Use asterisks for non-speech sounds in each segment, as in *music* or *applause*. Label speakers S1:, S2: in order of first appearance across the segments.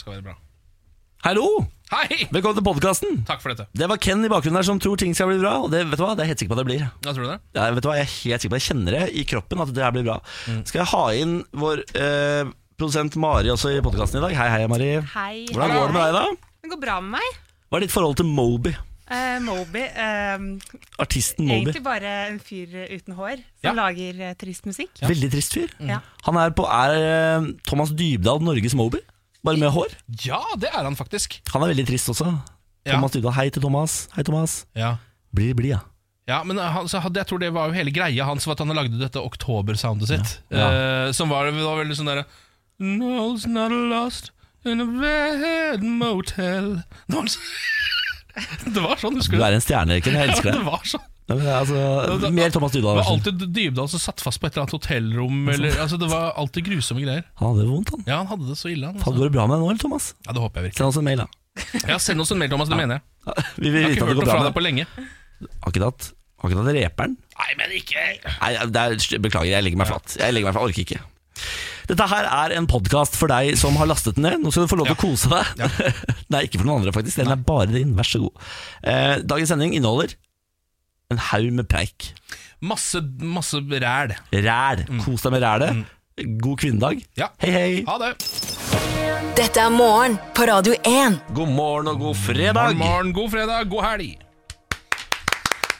S1: skal være bra.
S2: Hallo!
S1: Hei!
S2: Velkommen til podkasten.
S1: Takk for dette.
S2: Det var Ken i bakgrunnen her som tror ting skal bli bra. Og det, vet du hva? det er jeg helt sikker på at det blir.
S1: Ja, tror du det?
S2: Ja, vet du hva? Jeg er helt sikker på, jeg kjenner det i kroppen at det her blir bra. Skal jeg ha inn vår eh, produsent Mari også i podkasten i dag? Hei, hei, Mari.
S3: Hei.
S2: Hvordan går det med deg, da?
S3: Det går bra med meg.
S2: Hva er ditt forhold til Moby?
S3: Eh, Moby. eh,
S2: Artisten Moby.
S3: egentlig bare en fyr uten hår som
S1: Ja.
S3: lager eh, trist musikk.
S2: Veldig trist fyr.
S3: Ja.
S2: Han er, på, er eh, Thomas Dybdahl Norges Moby, bare med hår.
S1: Ja, det er han faktisk.
S2: Han er veldig trist også.
S1: Ja.
S2: Thomas Dybdahl, hei til Thomas. Hei, Thomas.
S1: Ja,
S2: Bli blid, ja.
S1: ja men eh, han, så hadde, jeg tror det var jo hele greia hans, var at han lagde dette oktober-soundet sitt.
S2: Ja.
S1: eh, som var, det var veldig sånn derre No, it's not lost in a bad motel Det var, så, *laughs* det var sånn, husker
S2: Du
S1: du?
S2: er en stjerne, Ken. Jeg
S1: Ja,
S2: elsker deg.
S1: *laughs* det var sånn.
S2: Nei, men, altså, mer Thomas
S1: Det
S2: Dybdahl.
S1: var
S2: vær så snill.
S1: alltid Dybdahl som satt fast på et eller annet hotellrom. Eller, altså, det var alltid grusomme greier.
S2: Han hadde det vondt, han.
S1: Ja, han hadde det så ille. Han,
S2: Faen,
S1: altså.
S2: Går det bra med deg nå, eller, Thomas?
S1: Ja, Det håper jeg virkelig.
S2: Send oss en mail, da.
S1: Ja, Send oss en mail, Thomas. Det mener jeg.
S2: Vi vil
S1: Jeg har ikke
S2: vite
S1: hørt
S2: at det går
S1: noe
S2: bra
S1: fra deg
S2: med deg.
S1: på lenge.
S2: Har ikke tatt, har ikke tatt reperen?
S1: Nei, men ikke
S2: Nei, det er, beklager, jeg legger meg flat. Jeg legger meg flat, orker ikke. Dette her er en podkast for deg som har lastet den ned. Nå skal du få lov til å kose deg. *laughs* Nei, ikke for noen andre, faktisk. Den er bare din. Vær så god. Eh, dagens sending inneholder en haug med preik.
S1: Masse, masse ræl.
S2: Ræl. Kos deg med rælet. God kvinnedag.
S1: Ja.
S2: Hei, hei.
S1: Ha det.
S4: Dette er morgen på Radio 1.
S2: God morgen og god
S1: God
S2: fredag.
S1: morgen, god fredag, god helg.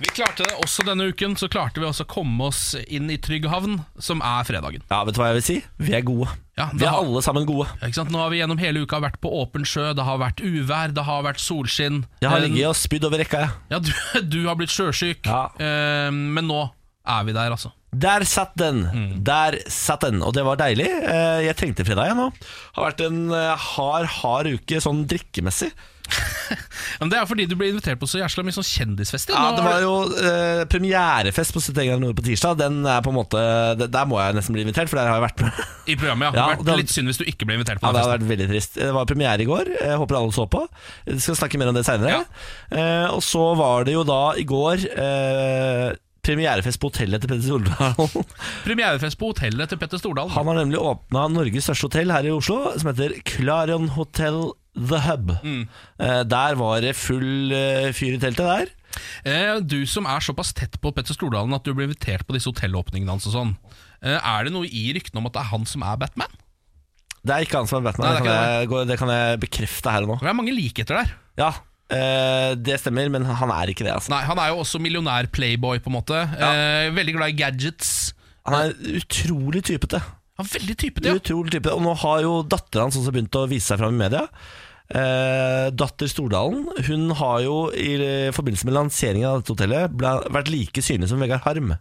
S1: Vi klarte det også denne uken. Så klarte vi også å komme oss inn i trygg havn, som er fredagen.
S2: Ja, vet du hva jeg vil si? Vi er gode.
S1: Ja,
S2: Vi er
S1: da-
S2: alle sammen gode.
S1: Ikke sant? Nå har vi gjennom hele uka vært på åpen sjø, det har vært uvær, det har vært solskinn.
S2: Jeg har
S1: Eh,
S2: ligget og spydd over rekka, jeg.
S1: Ja, du, *laughs* du har blitt sjøsyk,
S2: Ja.
S1: eh, men nå er vi der, altså.
S2: Der satt den! Der satt den, og det var deilig. Eh, Jeg trengte fredag, jeg nå. Har vært en eh, hard, hard uke sånn drikkemessig.
S1: Men Det er fordi du ble invitert på så jævla mye sånn kjendisfester.
S2: Ja,
S1: Nå
S2: det
S1: har
S2: var
S1: du-
S2: jo eh, premierefest på 71 grader nord på tirsdag. Den er på en måte d- Der må jeg nesten bli invitert, for der har jeg vært *laughs* med.
S1: I programmet, ja.
S2: Ja,
S1: vært
S2: det har-
S1: Litt synd hvis du ikke ble invitert på
S2: Ja,
S1: den
S2: det hadde
S1: festen.
S2: vært veldig trist. Det var premiere i går. Jeg håper alle så på. Vi skal snakke mer om det seinere. Og så var det jo da i går eh, premierefest på hotellet til Petter *laughs* Soldalen.
S1: Premierefest på hotellet til Petter Stordalen.
S2: Han har nemlig åpna Norges største hotell her i Oslo, som heter Clarion Hotel The Hub.
S1: Mm.
S2: Eh, der var det full eh, fyr i teltet der.
S1: Eh, du som er såpass tett på Petter Stordalen at du blir invitert på disse hotellåpningene hans og sånn. Eh, er det noe i ryktene om at det er han som er Batman?
S2: Det er ikke han som er Batman,
S1: Nei, det er
S2: det, kan
S1: ikke
S2: jeg, gå- det kan jeg bekrefte her og nå.
S1: Det er mange likheter der.
S2: Ja, eh, det stemmer, men han er ikke det, altså.
S1: Nei, Han er jo også millionær-playboy, på en måte. Eh, veldig glad i gadgets.
S2: Han er utrolig typete.
S1: Han er veldig typete, ja.
S2: Utrolig typete. Og nå har jo datteren hans også begynt å vise seg fram i media. Eh, datter Stordalen Hun har jo i eh, forbindelse med lanseringen av dette hotellet ble, vært like synlig som Vegard Harm.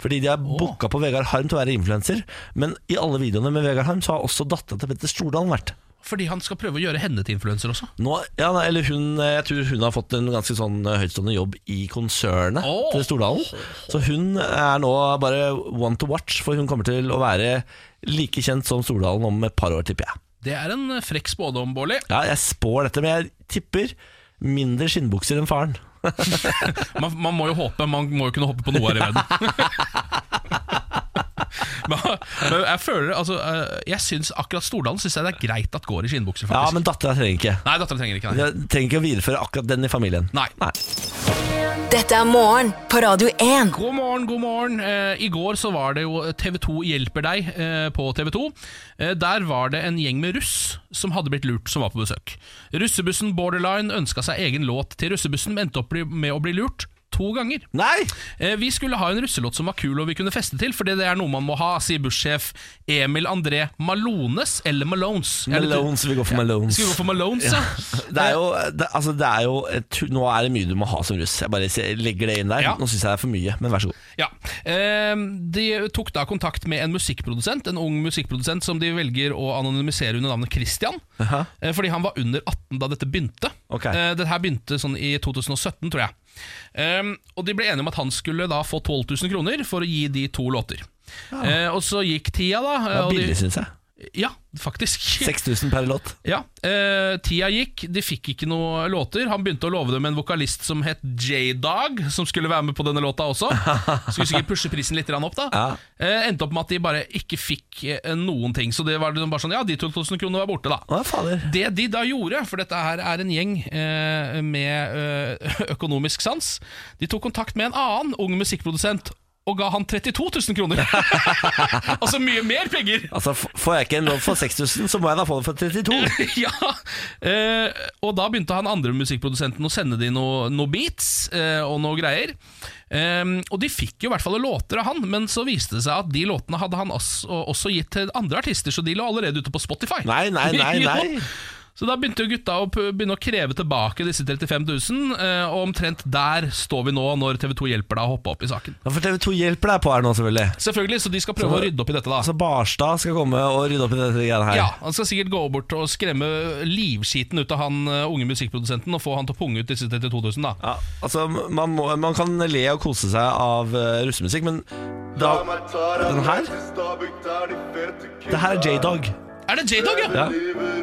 S2: Fordi de har booka på Vegard Harm til å være influenser, men i alle videoene med Vegard Harm så har også datteren til Petter Stordalen vært.
S1: Fordi han skal prøve å gjøre henne til influenser også.
S2: Nå, ja, nei, eller hun, eh, jeg tror hun har fått en ganske sånn eh, høytstående jobb i konsernet
S1: Åh.
S2: til Stordalen. Så hun er nå bare one to watch, for hun kommer til å være like kjent som Stordalen om et par år, tipper jeg.
S1: Det er en eh, frekk spådom, Bårli.
S2: Ja, jeg spår dette, men jeg tipper mindre skinnbukser enn faren.
S1: Man, man må jo håpe, man må jo kunne håpe på noe her i verden. *laughs* men, men jeg føler altså, eh, Jeg syns akkurat Stordalen synes jeg det er greit at går i skinnbukser,
S2: Ja,
S1: faktisk.
S2: men dattera trenger ikke.
S1: Nei, datteren trenger ikke det.
S2: Jeg trenger ikke å videreføre akkurat den i familien.
S1: Nei.
S4: Dette er morgen på Radio 1.
S1: God morgen, god morgen. Eh, I går så var det jo TV2 hjelper deg eh, på TV2. Eh, der var det en gjeng med russ som hadde blitt lurt, som var på besøk. Russebussen Borderline ønska seg egen låt til russebussen, men endte opp bli- med å bli lurt to ganger.
S2: Nei!
S1: Eh, Vi skulle ha en russelåt som var kul og vi kunne feste til, for det er noe man må ha, sier bussjef Emil André Malones, eller Malones. Jeg er litt-
S2: Malones, vi går for Malones.
S1: Skal vi gå for Malones, ja?
S2: Det er jo, det, altså det er jo et, Nå er det mye du må ha som russ. Jeg bare se- legger det inn der.
S1: Ja.
S2: Nå syns jeg det er for mye, men vær så god.
S1: Ja. Eh, De tok da kontakt med en musikkprodusent, en ung musikkprodusent som de velger å anonymisere under navnet Christian.
S2: Aha.
S1: Eh, Fordi han var under 18 da dette begynte.
S2: Ok.
S1: Eh, Dette her begynte sånn i 2017, tror jeg. Ehm, og de ble enige om at han skulle da få 12 000 kroner for å gi de to låter. Eh, og så gikk tida, da.
S2: Ah. Det
S1: eh,
S2: var
S1: og de-
S2: billig, syns jeg.
S1: Ja, faktisk.
S2: 6000 per låt.
S1: Ja, eh, Tida gikk, de fikk ikke noe låter. Han begynte å love dem en vokalist som het J-Dog, som skulle være med på denne låta også. Skulle sikkert pushe prisen litt grann opp, da.
S2: Ja.
S1: Eh, endte opp med at de bare ikke fikk eh, noen ting. Så det var liksom bare sånn Ja, de 2000 kronene var borte, da.
S2: Å, fader.
S1: Det de da gjorde, for dette her er en gjeng eh, med eh, *laughs* økonomisk sans De tok kontakt med en annen ung musikkprodusent og ga han 32 000 kroner. *laughs* altså mye mer penger!
S2: Altså, f- Får jeg ikke en låt for 6000, så må jeg da få den for 32.
S1: *laughs* ja! Eh, og da begynte han andre musikkprodusenten å sende de noe, noe beats eh, og noe greier. Ehm, og de fikk jo i hvert fall låter av han, men så viste det seg at de låtene hadde han også, også gitt til andre artister, så de lå allerede ute på Spotify.
S2: Nei, nei,
S1: *laughs*
S2: nei.
S1: Jo.
S2: nei
S1: Så da begynte jo gutta å, p- begynne å kreve tilbake disse 35 000, eh, og omtrent der står vi nå når TV 2 hjelper deg å hoppe opp i saken.
S2: Ja, For TV2 hjelper deg på her nå, selvfølgelig.
S1: Selvfølgelig, så de skal prøve å
S2: Så-
S1: rydde opp i dette, da.
S2: Altså Barstad skal komme og rydde opp i dette greiene her.
S1: Ja, Han skal sikkert gå bort og skremme livskiten ut av han eh, unge musikkprodusenten og få han til å punge ut disse 32 000, da.
S2: Ja, altså, man, må, man kan le og kose seg av eh, russemusikk, men da, den her Det her er J-Dog.
S1: Er det J-Dog, ja?
S2: Ja.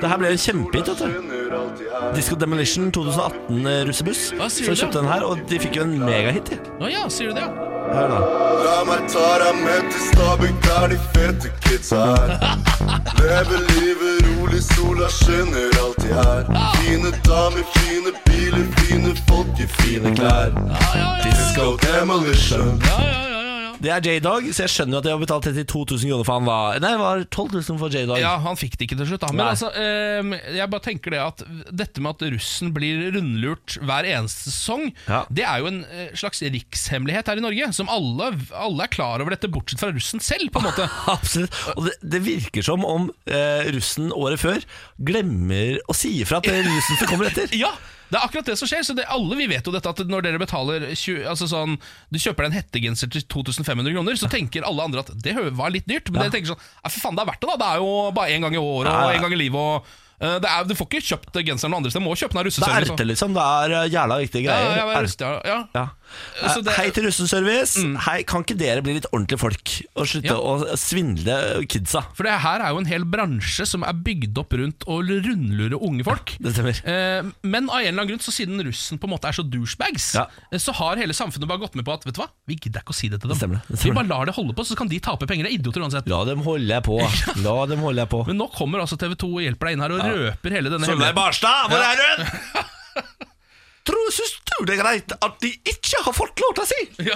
S2: Det her ble en kjempehit. vet du. Disco Demolition 2018-russebuss.
S1: Hva sier
S2: Så
S1: du?
S2: kjøpte den her, og de fikk jo en megahit. de.
S1: Å ja, sier du det, ja?
S2: Hør da.
S5: La meg ta deg med til Stabekk, der de fete kidsa er. Leve livet rolig, sola skinner alltid her. Fine damer, fine biler, fine folk i fine klær. Disco demolition.
S1: Ja, ja, ja, ja, ja.
S2: Det er J-Dog, så jeg skjønner jo at de har betalt 32 000 kroner for han. Da. Nei, det var 12 000 for J-Dog.
S1: Ja, han fikk det ikke til slutt, da. Men
S2: Nei.
S1: altså, eh, jeg bare tenker det at dette med at russen blir rundlurt hver eneste sesong,
S2: Ja.
S1: det er jo en eh, slags rikshemmelighet her i Norge, som alle, alle er klar over dette, bortsett fra russen selv, på en måte.
S2: *laughs* Absolutt. Og det, det virker som om eh, russen året før glemmer å si ifra til russen som kommer etter.
S1: *laughs* Ja, det er akkurat det som skjer. Så det, alle vi vet jo dette at når dere betaler 20, altså sånn, Du kjøper deg en hettegenser til 2500 kroner, så tenker alle andre at det hø- var litt dyrt. Men dere tenker sånn Ja, for faen, det er verdt det, da. Det er jo bare én gang i året
S2: Ja,
S1: og
S2: ja.
S1: én gang i livet. og eh, det er, Du får ikke kjøpt genseren noen andre steder. Må kjøpe den av
S2: Det er
S1: russesønnen.
S2: erte, liksom. Det er eh, jævla viktige
S1: Ja,
S2: greier.
S1: ja, ja, rust, ja, ja.
S2: Ja.
S1: Så det- Mm.
S2: Hei til russeservice. Hei, kan ikke dere bli litt ordentlige folk og slutte
S1: Ja.
S2: å svindle kidsa?
S1: For det her er jo en hel bransje som er bygd opp rundt å rundlure unge folk.
S2: Det stemmer.
S1: Eh, Men av en eller annen grunn, så siden russen på en måte er så douchebags,
S2: Ja.
S1: eh, så har hele samfunnet bare gått med på at Vet du hva, vi gidder ikke å si det til dem.
S2: Det stemmer, det
S1: Vi bare
S2: stemmer.
S1: lar det holde på, så kan de tape penger. Det er idioter uansett.
S2: La dem holde på. La dem holde på.
S1: Men nå kommer altså TV 2 og hjelper deg inn her og røper hele denne hemmeligheten.
S2: Barstad,
S1: *laughs*
S2: hvor er du? Tror Syns du det er greit at de ikke har fått låta si?
S1: Ja.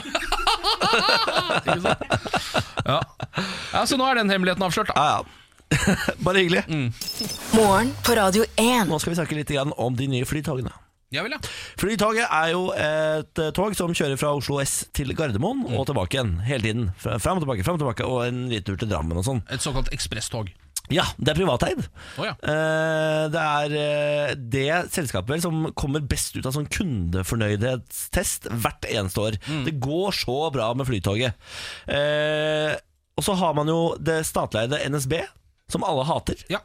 S1: ja, Så nå er den hemmeligheten avslørt, da.
S2: Ja, *laughs* ja. Bare hyggelig.
S1: Mm.
S4: Morgen på Radio 1.
S2: Nå skal vi snakke litt grann om de nye flytogene.
S1: Ja vel, ja.
S2: Flytoget er jo et eh, tog som kjører fra Oslo S til Gardermoen
S1: Mm.
S2: og tilbake igjen hele tiden. Fra- Fram og tilbake, fram og tilbake, og en liten tur til Drammen og sånn.
S1: Et såkalt ekspresstog.
S2: Ja, det er privateid.
S1: Å ja.
S2: Eh, Det er eh, det selskapet vel som kommer best ut av sånn kundefornøydhetstest hvert eneste år. Det går så bra med Flytoget. Eh, Og så har man jo det statleide NSB, som alle hater.
S1: Ja.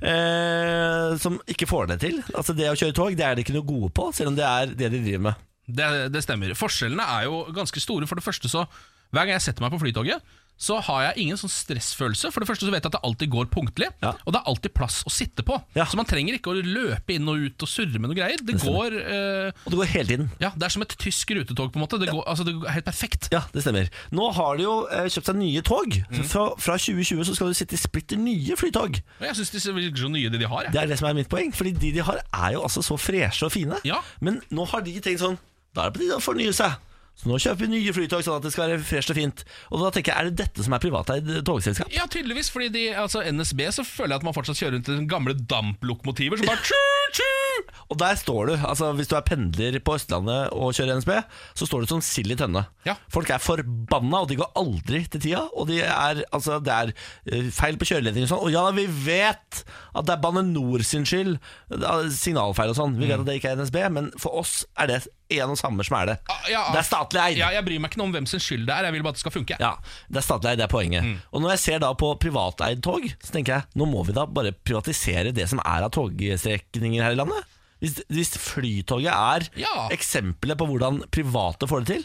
S2: Eh, som ikke får det til. Altså Det å kjøre tog det er de ikke noe gode på, selv om det er det de driver med.
S1: Det, det stemmer. Forskjellene er jo ganske store. For det første så Hver gang jeg setter meg på flytoget, så har jeg ingen sånn stressfølelse. For det første så vet jeg at det alltid går punktlig,
S2: Ja.
S1: og det er alltid plass å sitte på.
S2: Ja.
S1: Så man trenger ikke å løpe inn og ut og surre med noe greier. Det, går eh,
S2: Og det går hele tiden.
S1: Ja, det er som et tysk rutetog, på en måte. Det, går, altså, det er helt perfekt.
S2: Ja, det stemmer. Nå har de jo eh, kjøpt seg nye tog. Så Fra, fra 2020 så skal du sitte i splitter nye flytog.
S1: Og jeg syns de virker så nye, de de har. Jeg.
S2: Det er det som er mitt poeng. Fordi de de har, er jo altså så freshe og fine.
S1: Ja.
S2: Men nå har de tenkt sånn Da er det på tide å fornye seg. Så nå kjøper vi nye flytog, sånn at det skal være fresht og fint. Og da tenker jeg, er det dette som er privateid togselskap?
S1: Ja, tydeligvis. fordi de, altså NSB så føler jeg at man fortsatt kjører rundt i sånne gamle damplokomotiver
S2: *laughs*
S1: som bare tju-tju!
S2: Og der står du. altså Hvis du er pendler på Østlandet og kjører NSB, så står du som sild i tønne.
S1: Ja.
S2: Folk er forbanna, og de går aldri til tida. Og de er, altså, det er eh, feil på kjøreledningen og sånn. Og ja, vi vet at det er Bane Nor sin skyld. eh, Signalfeil og sånn. Vi
S1: Mm.
S2: vet at det ikke er NSB, men for oss er det en og samme som er det.
S1: Ah, ja.
S2: Det er statlig eid.
S1: Ja, jeg bryr meg ikke noe om hvem sin skyld det er, jeg vil bare at det skal funke.
S2: Ja, det er statlig eid, det er poenget.
S1: Mm.
S2: Og når jeg ser da på privateid tog, så tenker jeg nå må vi da bare privatisere det som er av togstrekninger her i landet. Hvis, hvis Flytoget er
S1: Ja.
S2: eksempelet på hvordan private får det til,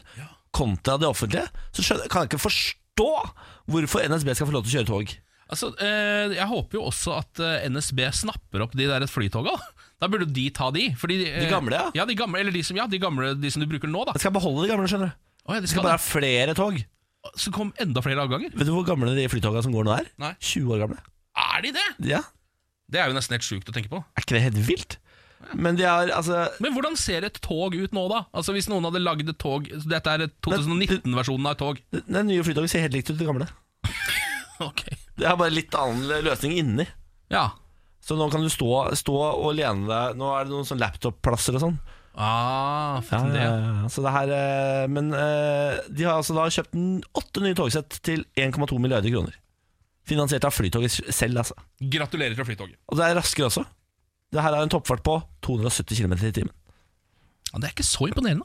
S2: kontra det offentlige, så skjønner, kan jeg ikke forstå hvorfor NSB skal få lov til å kjøre tog.
S1: Altså, eh, jeg håper jo også at eh, NSB snapper opp de der flytoga. Da burde jo de ta de. Fordi, eh,
S2: De gamle, ja?
S1: Ja, de gamle, eller de som, ja, de gamle, de som du bruker nå, da.
S2: Jeg skal beholde de gamle, skjønner du.
S1: Å, ja, de
S2: Det skal
S1: skal,
S2: bare ha flere tog.
S1: da. så kom enda flere avganger.
S2: Vet du hvor gamle de flytoga som går nå er?
S1: Nei.
S2: 20 år gamle.
S1: Er de det?!
S2: Ja,
S1: Det er jo nesten helt sjukt å tenke på.
S2: Er ikke det helt vilt? Men de er altså
S1: Men hvordan ser et tog ut nå, da? Altså Hvis noen hadde lagd et tog Dette er 2019-versjonen av et tog. *laughs*
S2: Den nye flytoget ser helt likt ut det gamle.
S1: Ok
S2: Det er bare litt annen løsning inni.
S1: Ja
S2: Så nå kan du stå, stå og lene deg Nå er det noen sånn laptop-plasser og sånn.
S1: Ah, faen det ja.
S2: ja. Så det her eh, Men eh, de har altså da kjøpt n- åtte nye togsett til 1,2 milliarder kroner. Finansiert av Flytoget selv, altså.
S1: Gratulerer til flytoget.
S2: Og det er raskere også. Det her er en toppfart på 270 km i timen.
S1: Ja, det er ikke så imponerende.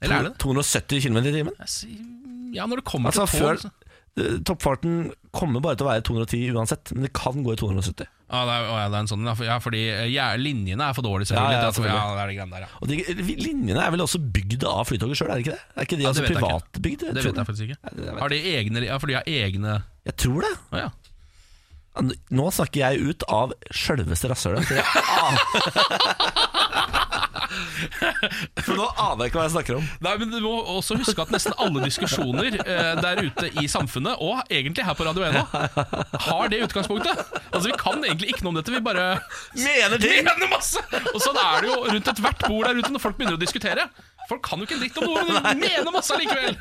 S1: Eller er det det?
S2: 270 km i timen?
S1: Jeg sier- Ja, når det kommer
S2: Altså,
S1: til tog
S2: før- Eh, Toppfarten kommer bare til å være 210 uansett, men det kan gå i 270.
S1: ja, det er, å, ja, det er en sånn ja, for- Ja, fordi eh, ja, linjene er for dårlige, selvfølgelig. Ja,
S2: Ja, ja,
S1: ja,
S2: selvfølgelig.
S1: det er de greiene der, ja.
S2: Og de linjene er vel også bygd av Flytoget sjøl, er det ikke det? Er ikke de
S1: Ja, det
S2: altså
S1: vet jeg ikke.
S2: privatbygd?
S1: Det vet jeg faktisk ikke.
S2: det vet
S1: Har de egne Ja, for de har egne
S2: Jeg tror det.
S1: Å ja.
S2: Nå snakker jeg ut av sjølveste rasshølet. for jeg an- *laughs* For nå aner jeg ikke hva jeg snakker om.
S1: Nei, men Du må også huske at nesten alle diskusjoner eh, der ute i samfunnet, og egentlig her på Radio 1 også, har det utgangspunktet. Altså Vi kan egentlig ikke noe om dette, vi bare
S2: Mener
S1: Vi mener masse! Og sånn er det jo rundt ethvert bord der ute når folk begynner å diskutere. Folk kan jo ikke en dritt om noe, men de mener masse likevel!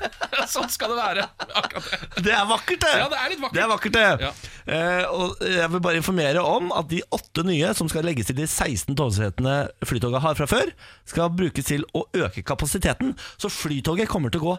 S1: Sånn skal det være. Akkurat det.
S2: Det er vakkert, det!
S1: Ja, det er litt vakkert.
S2: Det er vakkert, det.
S1: Ja.
S2: Eh, og jeg vil bare informere om at de åtte nye som skal legges til de 16 togsettene Flytoget har fra før, skal brukes til å øke kapasiteten. Så Flytoget kommer til å gå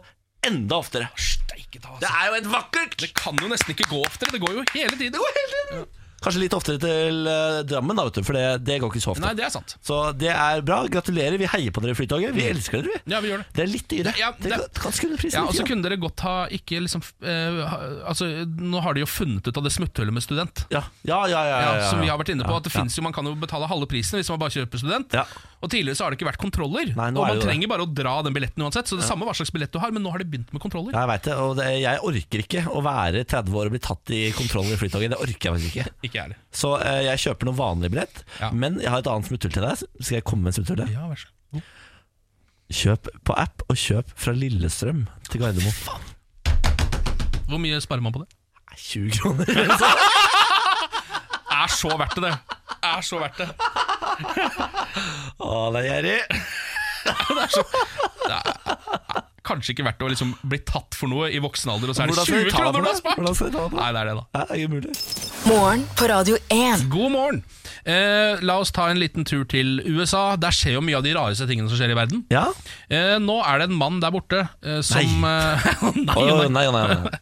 S2: enda oftere.
S1: Steike ta, altså.
S2: Det er jo helt vakkert!
S1: Det kan jo nesten ikke gå oftere. Det går jo hele tiden.
S2: Kanskje litt oftere til eh, Drammen, da, vet du, for det, det går ikke så ofte.
S1: Nei, det er sant.
S2: Så det er bra. Gratulerer. Vi heier på dere, Flytoget. Vi elsker dere, vi.
S1: Mm. Ja, vi gjør det.
S2: Dere er litt dyre.
S1: Ja, det-
S2: Dere kan- kan skru ned prisen
S1: Ja, og
S2: litt,
S1: så kunne dere godt ha ikke liksom eh, ha, Altså, nå har de jo funnet ut av det smutthullet med student.
S2: ja. Ja, ja, ja, ja,
S1: Ja,
S2: ja, ja.
S1: Som vi har vært inne på,
S2: Ja,
S1: at det
S2: ja.
S1: finnes jo, Man kan jo betale halve prisen hvis man bare kjøper student.
S2: Ja.
S1: Og Tidligere så har det ikke vært kontroller.
S2: Nei,
S1: og
S2: nå er
S1: Man
S2: det jo det.
S1: trenger bare å dra den billetten uansett. Så det er samme hva slags billett du har, men nå har de begynt med kontroller.
S2: Ja, jeg vet det, og det, jeg orker ikke å være 30 år og bli tatt i kontroll i Flytoget. Det orker jeg faktisk ikke.
S1: Ikke jeg heller.
S2: Så eh, jeg kjøper noen vanlig billett,
S1: Ja.
S2: men jeg har et annet smutthull til deg. Skal jeg komme med smutthullet?
S1: Ja, vær så god.
S2: Kjøp på app, og kjøp fra Lillestrøm til Gardermoen.
S1: Hvor mye sparer man på det?
S2: 20 *laughs* kroner.
S1: *laughs* Er så verdt det, det! Er så verdt det.
S2: Å, det er gjerrig.
S1: det, er så, det er kanskje ikke verdt å liksom bli tatt for noe i voksen alder, og så er det
S2: Hvordan skal
S1: 20
S2: vi ta
S1: kroner
S2: det?
S1: du har spart!
S2: Hvordan skal vi ta det?
S1: Nei, det er det, da.
S2: Nei, det er umulig.
S4: Morgen på Radio 1.
S1: God morgen! Eh, la oss ta en liten tur til USA. Der skjer jo mye av de rareste tingene som skjer i verden.
S2: Ja?
S1: Eh, nå er det en mann der borte eh, som eh, *laughs* nei,
S2: Å,
S1: nei.
S2: nei, nei, nei.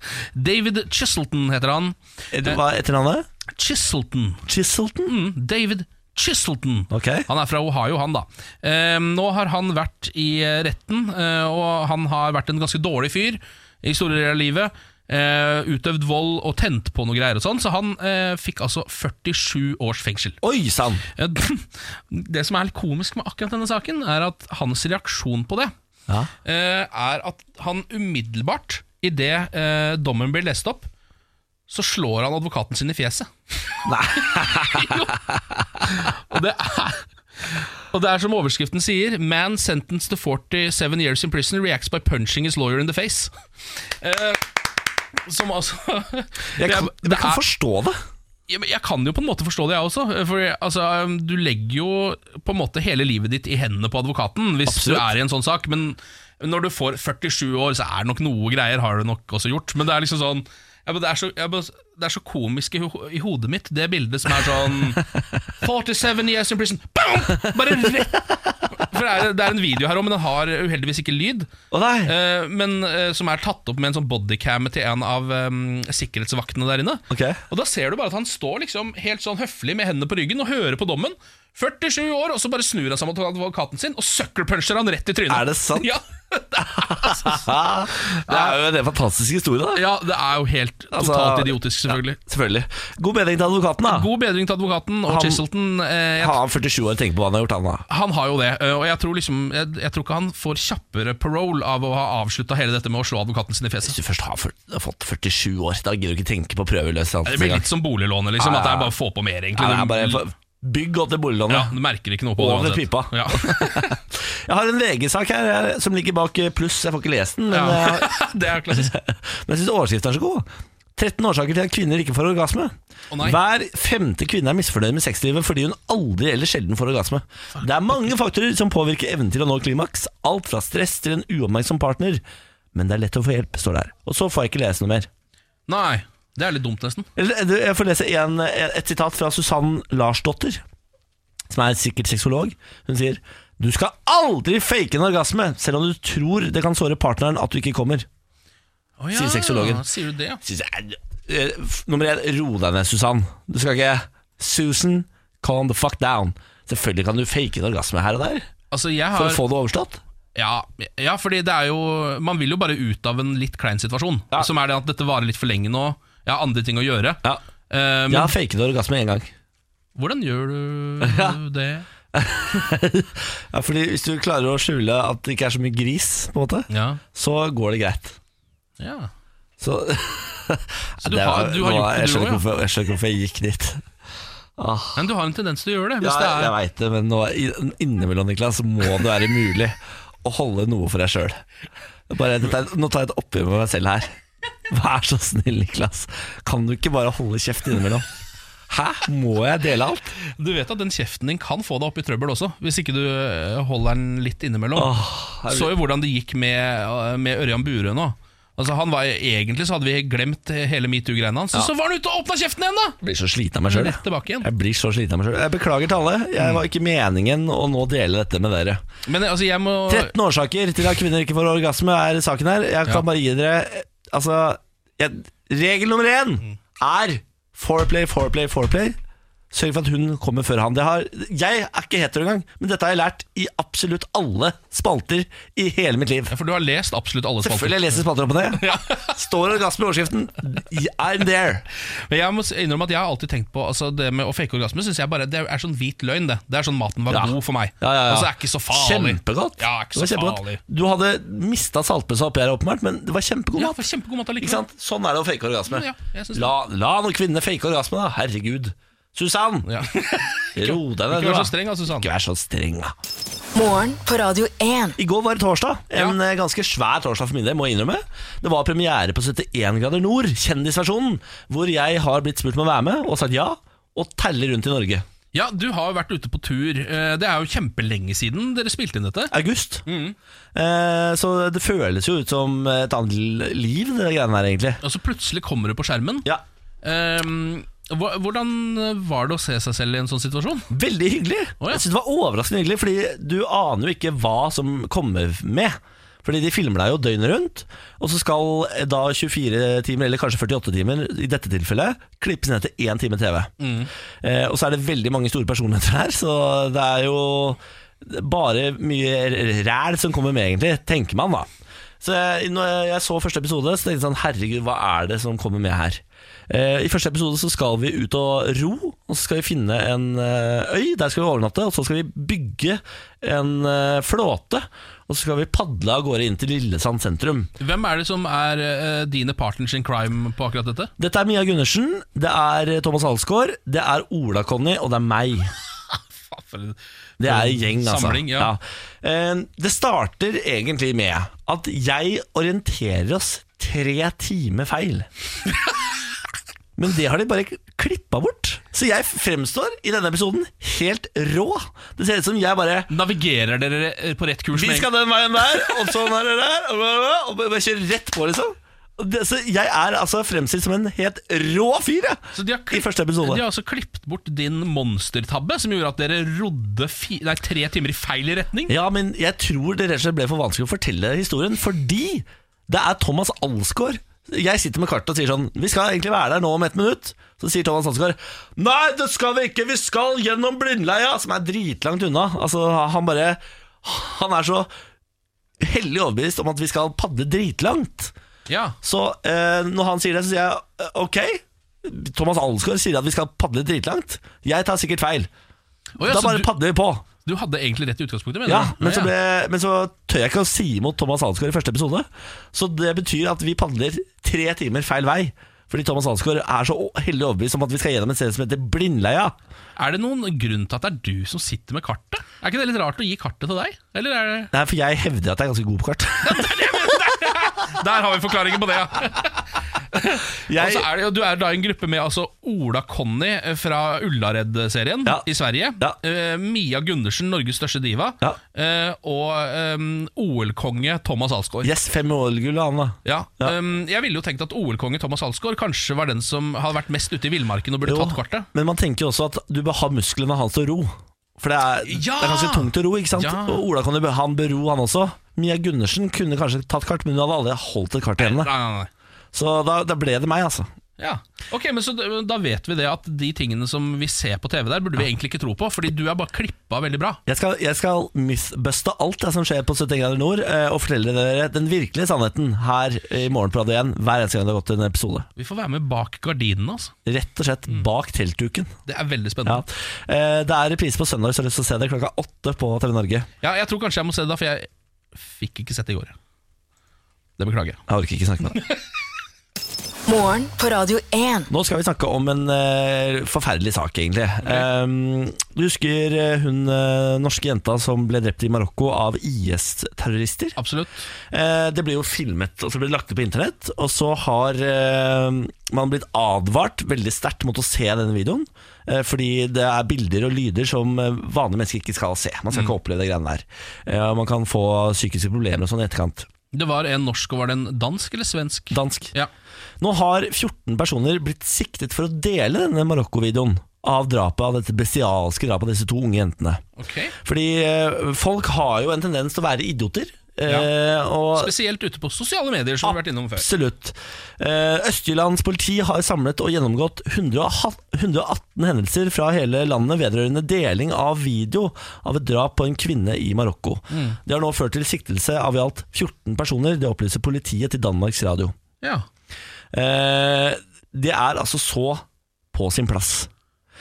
S1: David Chiselton heter han. *laughs*
S2: Er det- Hva er etternavnet?
S1: Chiselton.
S2: Chiselton?
S1: Mm, David Chiselton.
S2: Ok.
S1: Han er fra Ohio, han da. Eh, nå har han vært i eh, retten, eh, og han har vært en ganske dårlig fyr i store deler av livet. Eh, utøvd vold og tent på noe greier og sånn, så han eh, fikk altså 47 års fengsel.
S2: Oi sann!
S1: Eh, *clears throat* Det som er litt komisk med akkurat denne saken, er at hans reaksjon på det
S2: Ja.
S1: eh, er at han umiddelbart, idet eh, dommen blir lest opp, så slår han advokaten sin i fjeset. *laughs* jo. Og det er og det er som overskriften sier Man sentenced to 47 years in prison Reacts by punching his lawyer in the face eh, Som altså
S2: Jeg
S1: det er-
S2: kan,
S1: det
S2: jeg kan
S1: er-
S2: forstå det.
S1: ja, men jeg kan jo på en måte forstå det, jeg også. For altså, Du legger jo på en måte hele livet ditt i hendene på advokaten hvis
S2: Absolutt.
S1: du er i en sånn sak. Men når du får 47 år, så er det nok noe greier, har du nok også gjort. Men det er liksom sånn ja, men det, er så, ja, men det er så komisk i, ho i hodet mitt, det bildet som er sånn 47 years in prison Boom! Bare rett For det er, det er en video her òg, men den har uheldigvis ikke lyd.
S2: Å nei!
S1: Eh, men eh, som er tatt opp med en sånn bodycam til en av eh, sikkerhetsvaktene der inne.
S2: Ok.
S1: Og da ser du bare at han står liksom helt sånn høflig med hendene på ryggen og hører på dommen. 47 år, og så bare snur han seg mot advokaten sin og sucker puncher han rett i trynet.
S2: Er det sant?
S1: *laughs* Ja.
S2: Det er jo en fantastisk historie, da.
S1: Ja, det er jo helt
S2: Altså,
S1: totalt idiotisk, selvfølgelig.
S2: Selvfølgelig. God bedring til advokaten, da.
S1: God bedring til advokaten og
S2: Han-
S1: Cheselton. Eh, jeg,
S2: Har han 47 år tenker på hva han har gjort, han da?
S1: han har jo det, eh, og jeg tror, liksom, jeg, jeg tror ikke han får kjappere parole av å ha avslutta hele dette med å slå advokaten sin i
S2: Hvis
S1: fjeset.
S2: du først har, fyr- har fått 47 år, da gidder du ikke tenke på prøveløslatelse
S1: Det blir
S2: engang.
S1: litt som boliglånet, liksom.
S2: Ja,
S1: At det
S2: ja.
S1: er bare å få på mer, egentlig.
S2: Ja, det er bare
S1: Du-
S2: for- Bygg opp det
S1: ja,
S2: boliglånet.
S1: du merker ikke noe på
S2: Over
S1: det.
S2: pipa. *laughs*
S1: uansett.
S2: Jeg har en VG-sak her eh, som ligger bak eh, pluss. Jeg får ikke lest den, men,
S1: Ja.
S2: eh,
S1: Ja. *laughs* det er klassisk.
S2: men jeg syns overskriften er så god. 13 årsaker til at kvinner ikke får orgasme.
S1: Å, nei.
S2: Hver femte kvinne er misfornøyd med sexlivet fordi hun aldri eller sjelden får orgasme. Det er mange faktorer som påvirker evnen til å nå klimaks. Alt fra stress til en uoppmerksom partner. Men det er lett å få hjelp, står det her. Og så får jeg ikke lese noe mer.
S1: Nei, det er litt dumt, nesten.
S2: Eller, eh, du, Jeg får lese en, et sitat fra Susann Larsdotter, som er sikkert sexolog. Hun sier du skal aldri fake en orgasme, selv om du tror det kan såre partneren at du ikke kommer.
S1: Å ja,
S2: Sier sexologen.
S1: Sier du det, ja?
S2: Synes jeg, eh, f- nummer én, ro deg ned, Susann. Du skal ikke Susan, calm the fuck down. Selvfølgelig kan du fake en orgasme her og der
S1: Altså, jeg
S2: for
S1: har,
S2: å få det overstått.
S1: ja, ja, fordi det er jo Man vil jo bare ut av en litt klein situasjon.
S2: Ja.
S1: Som er det at dette varer litt for lenge nå. Jeg har andre ting å gjøre.
S2: Ja.
S1: Eh, men
S2: Jeg har faket orgasme én gang.
S1: hvordan gjør du
S2: *laughs*
S1: det?
S2: Ja, fordi Hvis du klarer å skjule at det ikke er så mye gris, på en måte
S1: Ja,
S2: så går det greit.
S1: ja.
S2: Så, *laughs*
S1: Så du har- du har
S2: nå-
S1: gjort det,
S2: jeg
S1: du
S2: skjønner ikke
S1: også,
S2: hvorfor- Jeg skjønner ikke hvorfor jeg gikk dit.
S1: Men du har en tendens til å gjøre det. Hvis
S2: Ja,
S1: det
S2: jeg
S1: er,
S2: veit det, men nå, i- innimellom Niklas, så må det være mulig å holde noe for deg sjøl. Nå tar jeg et oppgjør med meg selv her. Vær så snill, Niklas. Kan du ikke bare holde kjeft innimellom? Hæ? Må jeg dele alt?
S1: du vet at den kjeften din kan få deg opp i trøbbel også, hvis ikke du eh, holder den litt innimellom.
S2: Åh, jeg-
S1: Så jo hvordan det gikk med, øh, med Ørjan Burøe nå. Altså han var Egentlig så hadde vi glemt hele metoo-greiene hans, så var han ute og åpna kjeften igjen, da!
S2: Jeg blir så sliten av meg sjøl.
S1: Rett tilbake igjen.
S2: Jeg blir så sliten av meg selv. Jeg beklager til alle. Jeg var ikke meningen å nå dele dette med dere.
S1: Men altså, jeg må
S2: 13 årsaker til at kvinner ikke får orgasme er saken her. Jeg kan
S1: Ja.
S2: bare gi dere Altså, jeg, regel nummer én
S1: Mm.
S2: er foreplay, foreplay, foreplay. Sørg for at hun kommer før han. Det har, jeg er ikke hetero engang, men dette har jeg lært i absolutt alle spalter i hele mitt liv.
S1: Ja, For du har lest absolutt alle spalter.
S2: Selvfølgelig jeg leser spalter opp og
S1: *laughs*
S2: ned. Står orgasme i overskriften. I'm there.
S1: Men jeg må s- innrømme at jeg har alltid tenkt på altså, det med å fake orgasme. Synes jeg bare, Det er sånn hvit løgn, det. Det er sånn maten var
S2: Ja.
S1: god for meg.
S2: Ja, ja, ja.
S1: Altså, det er ikke så farlig.
S2: Kjempegodt.
S1: Ja, ikke
S2: Det
S1: så
S2: var kjempegodt.
S1: farlig.
S2: Du hadde mista saltbøssa oppi her, åpenbart, men det var kjempegod
S1: Ja,
S2: mat.
S1: for kjempegod mat
S2: Ikke
S1: allikevel.
S2: sant? Sånn er det å fake orgasme.
S1: Ja, jeg synes det.
S2: la, la noen kvinner fake orgasme, da. Herregud. Susann, *laughs*
S1: Ja.
S2: ro
S1: Ikke vær
S2: deg ned. du, da.
S1: så streng, altså, Susann.
S2: Ikke vær så streng, da.
S4: Morgen på Radio 1.
S2: I går var det torsdag. En eh, ganske svær torsdag for min del, må jeg innrømme. Det var premiere på 71 grader nord, kjendisversjonen, hvor jeg har blitt spurt om å være med, og sagt ja, og teller rundt i Norge.
S1: Ja, du har jo vært ute på tur. Eh, Det er jo kjempelenge siden dere spilte inn dette.
S2: August.
S1: Mm.
S2: Eh, så det føles jo ut som et annet liv, det greiene her, egentlig.
S1: Og så plutselig kommer du på skjermen.
S2: Ja,
S1: Ehm, hva- hvordan var det å se seg selv i en sånn situasjon?
S2: Veldig hyggelig.
S1: Å, ja.
S2: Jeg synes Det var overraskende hyggelig, fordi du aner jo ikke hva som kommer med. Fordi de filmer deg jo døgnet rundt, og så skal eh, da 24 timer, eller kanskje 48 timer i dette tilfellet, klippes ned til én time TV.
S1: Mm.
S2: Eh, og så er det veldig mange store personligheter her, så det er jo bare mye ræl som kommer med, egentlig, tenker man da. Så jeg, når jeg så første episode, så tenkte jeg sånn Herregud, hva er det som kommer med her? Eh, I første episode så skal vi ut og ro, og så skal vi finne en eh, øy. Der skal vi overnatte, og så skal vi bygge en eh, flåte. Og så skal vi padle av gårde inn til Lillesand sentrum.
S1: Hvem er det som er eh, dine partners in crime på akkurat dette?
S2: Dette er Mia Gundersen, det er Thomas Alsgaard, det er Ola-Conny, og det er meg.
S1: Faen, for en-
S2: Det er en gjeng, altså.
S1: Samling, ja.
S2: Ja. Eh, Det starter egentlig med at jeg orienterer oss tre
S1: *laughs*
S2: timer feil. Men det har de bare klippa bort. Så jeg fremstår i denne episoden helt rå. Det ser ut som jeg bare
S1: Navigerer dere eh, på rett kurs?
S2: Vi
S1: med-
S2: skal den veien der, og sånn er det der, og, bla, bla, og bare kjører rett på, liksom. Og Det, så jeg er altså fremstilt som en helt rå fyr, jeg.
S1: Så de har klipp-
S2: I første episode.
S1: De har altså klippet bort din monstertabbe, som gjorde at dere rodde fi nei, tre timer i feil retning.
S2: Ja, men jeg tror det rett og slett ble for vanskelig å fortelle historien, fordi det er Thomas Alsgaard. Jeg sitter med kartet og sier sånn Vi skal egentlig være der nå om ett minutt. Så sier Thomas Alsgaard Nei, det skal vi ikke! Vi skal gjennom Blindleia! Som er dritlangt unna. Altså, han bare Han er så hellig overbevist om at vi skal padle dritlangt.
S1: Ja.
S2: Så eh, når han sier det, så sier jeg eh, ok. Thomas Alsgaard sier at vi skal padle dritlangt. Jeg tar sikkert feil.
S1: Å, ja
S2: da
S1: så
S2: bare
S1: du,
S2: padler vi på.
S1: du hadde egentlig rett i utgangspunktet, mener
S2: Ja,
S1: du?
S2: men, så ble, men så tør jeg ikke å si imot Thomas Alsgaard i første episode. Så det betyr at vi padler tre timer feil vei. Fordi Thomas Alsgaard er så o- heldig overbevist om at vi skal gjennom et sted som heter Blindleia.
S1: Er det noen grunn til at det er du som sitter med kartet? Er ikke det litt rart å gi kartet til deg? Eller er det
S2: Nei, for jeg hevder at jeg er ganske god
S1: *laughs*
S2: på kart.
S1: Der har vi forklaringen på det, ja. Og
S2: Jeg,
S1: så er det, jo- du er da i en gruppe med altså, Ola Conny eh, fra Ullared-serien
S2: Ja.
S1: i Sverige.
S2: Ja.
S1: eh, Mia Gundersen, Norges største diva.
S2: Ja.
S1: eh, og eh, OL-konge Thomas Alsgaard.
S2: yes, fem OL-gull av han, da.
S1: Ja.
S2: Ja.
S1: ehm, jeg ville jo tenkt at OL-konge Thomas Alsgaard kanskje var den som hadde vært mest ute i villmarken og burde
S2: Jo,
S1: tatt kartet.
S2: Men man tenker jo også at du bør ha musklene hans til å ro. For det er,
S1: Ja!
S2: det er ganske tungt å ro, ikke sant?
S1: Ja.
S2: Og Ola kan jo, han bør ro, han også. Mia Gundersen kunne kanskje tatt kart, men hun hadde aldri holdt et kart i
S1: Nei,
S2: hendene.
S1: nei, nei.
S2: Så da, da ble det meg, altså.
S1: Ja, ok, men så d- Da vet vi det at de tingene som vi ser på TV der, burde vi egentlig ikke tro på, fordi du er bare klippa veldig bra.
S2: Jeg skal, jeg skal mythbuste alt det som skjer på 71 grader nord, eh, og fortelle dere den virkelige sannheten her i Morgen på Radio 1 hver eneste gang det har gått en episode.
S1: Vi får være med bak gardinene. altså
S2: Rett og slett bak teltduken.
S1: Det er veldig
S2: Ja.
S1: spennende.
S2: Eh, Det er reprise på søndag, så jeg har lyst til å se det klokka åtte på TV Norge.
S1: Ja. Jeg tror kanskje jeg må se det, da for jeg fikk ikke sett det i går. Det beklager jeg.
S2: Jeg orker ikke snakke med deg.
S4: Morgen på Radio 1.
S2: Nå skal vi snakke om en eh, forferdelig sak, egentlig. Eh, du husker eh, hun eh, norske jenta som ble drept i Marokko av IS-terrorister?
S1: Absolutt.
S2: Eh, det ble jo filmet, og så ble det lagt ut på internett. Og så har eh, man blitt advart veldig sterkt mot å se denne videoen. Eh, fordi det er bilder og lyder som eh, vanlige mennesker ikke skal se. Man skal ikke oppleve de greiene der. Eh, og man kan få psykiske problemer og sånn i etterkant.
S1: Det var en norsk, og var det en dansk eller svensk?
S2: Dansk.
S1: Ja.
S2: Nå har 14 personer blitt siktet for å dele denne Marokko-videoen av drapet av dette bestialske drapet av disse to unge jentene.
S1: Ok
S2: Fordi eh, folk har jo en tendens til å være idioter. eh, og
S1: Spesielt ute på sosiale medier, som vi har vært innom før.
S2: Absolutt. Eh, Østjyllands politi har samlet og gjennomgått 118 hendelser fra hele landet vedrørende deling av video av et drap på en kvinne i Marokko. Det har nå ført til siktelse av i alt 14 personer, det opplyser politiet til Danmarks Radio.
S1: Ja.
S2: Eh, det er altså så på sin plass.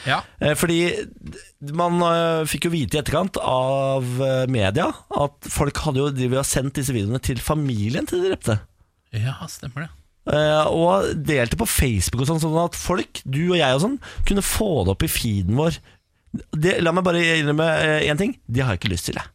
S1: ja.
S2: Eh, Fordi man eh, fikk jo vite i etterkant av eh, media at folk hadde jo drevet og sendt disse videoene til familien til de drepte.
S1: Ja, stemmer det.
S2: Eh, og delte på Facebook og sånn, sånn at folk, du og jeg og sånn, kunne få det opp i feeden vår. Det, la meg bare innrømme eh, én ting. Det har jeg ikke lyst til. Jeg.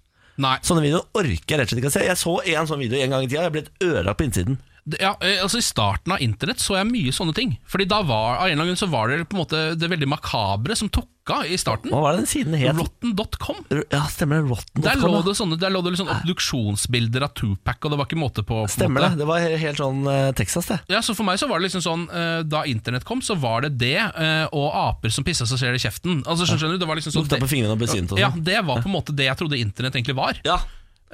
S1: Nei.
S2: Sånne videoer orker jeg rett og slett ikke å se. Jeg så en sånn video en gang i tida. Jeg ble helt ødelagt på innsiden.
S1: Det- Ja, eh, altså I starten av internett så jeg mye sånne ting. Fordi da var, av en eller annen grunn så var det på en måte det veldig makabre som tok av i starten.
S2: Hva var det den siden het?
S1: Rotten.com.
S2: Ja, stemmer det. Rotten.
S1: Der lå det sånne Der lå det litt sånn obduksjonsbilder av Tupac, og det var ikke måte på. på en
S2: Stemmer
S1: måte.
S2: det. Det var he- helt sånn eh, Texas, det.
S1: Ja, så For meg så var det liksom sånn eh, da internett kom, så var det det eh, og aper som pissa seg selv i kjeften. Altså skjønner du, det var liksom sånn
S2: Lukta på fingrene og ble sint og
S1: Ja,
S2: sånn.
S1: Det var på en måte det jeg trodde internett egentlig var.
S2: Ja,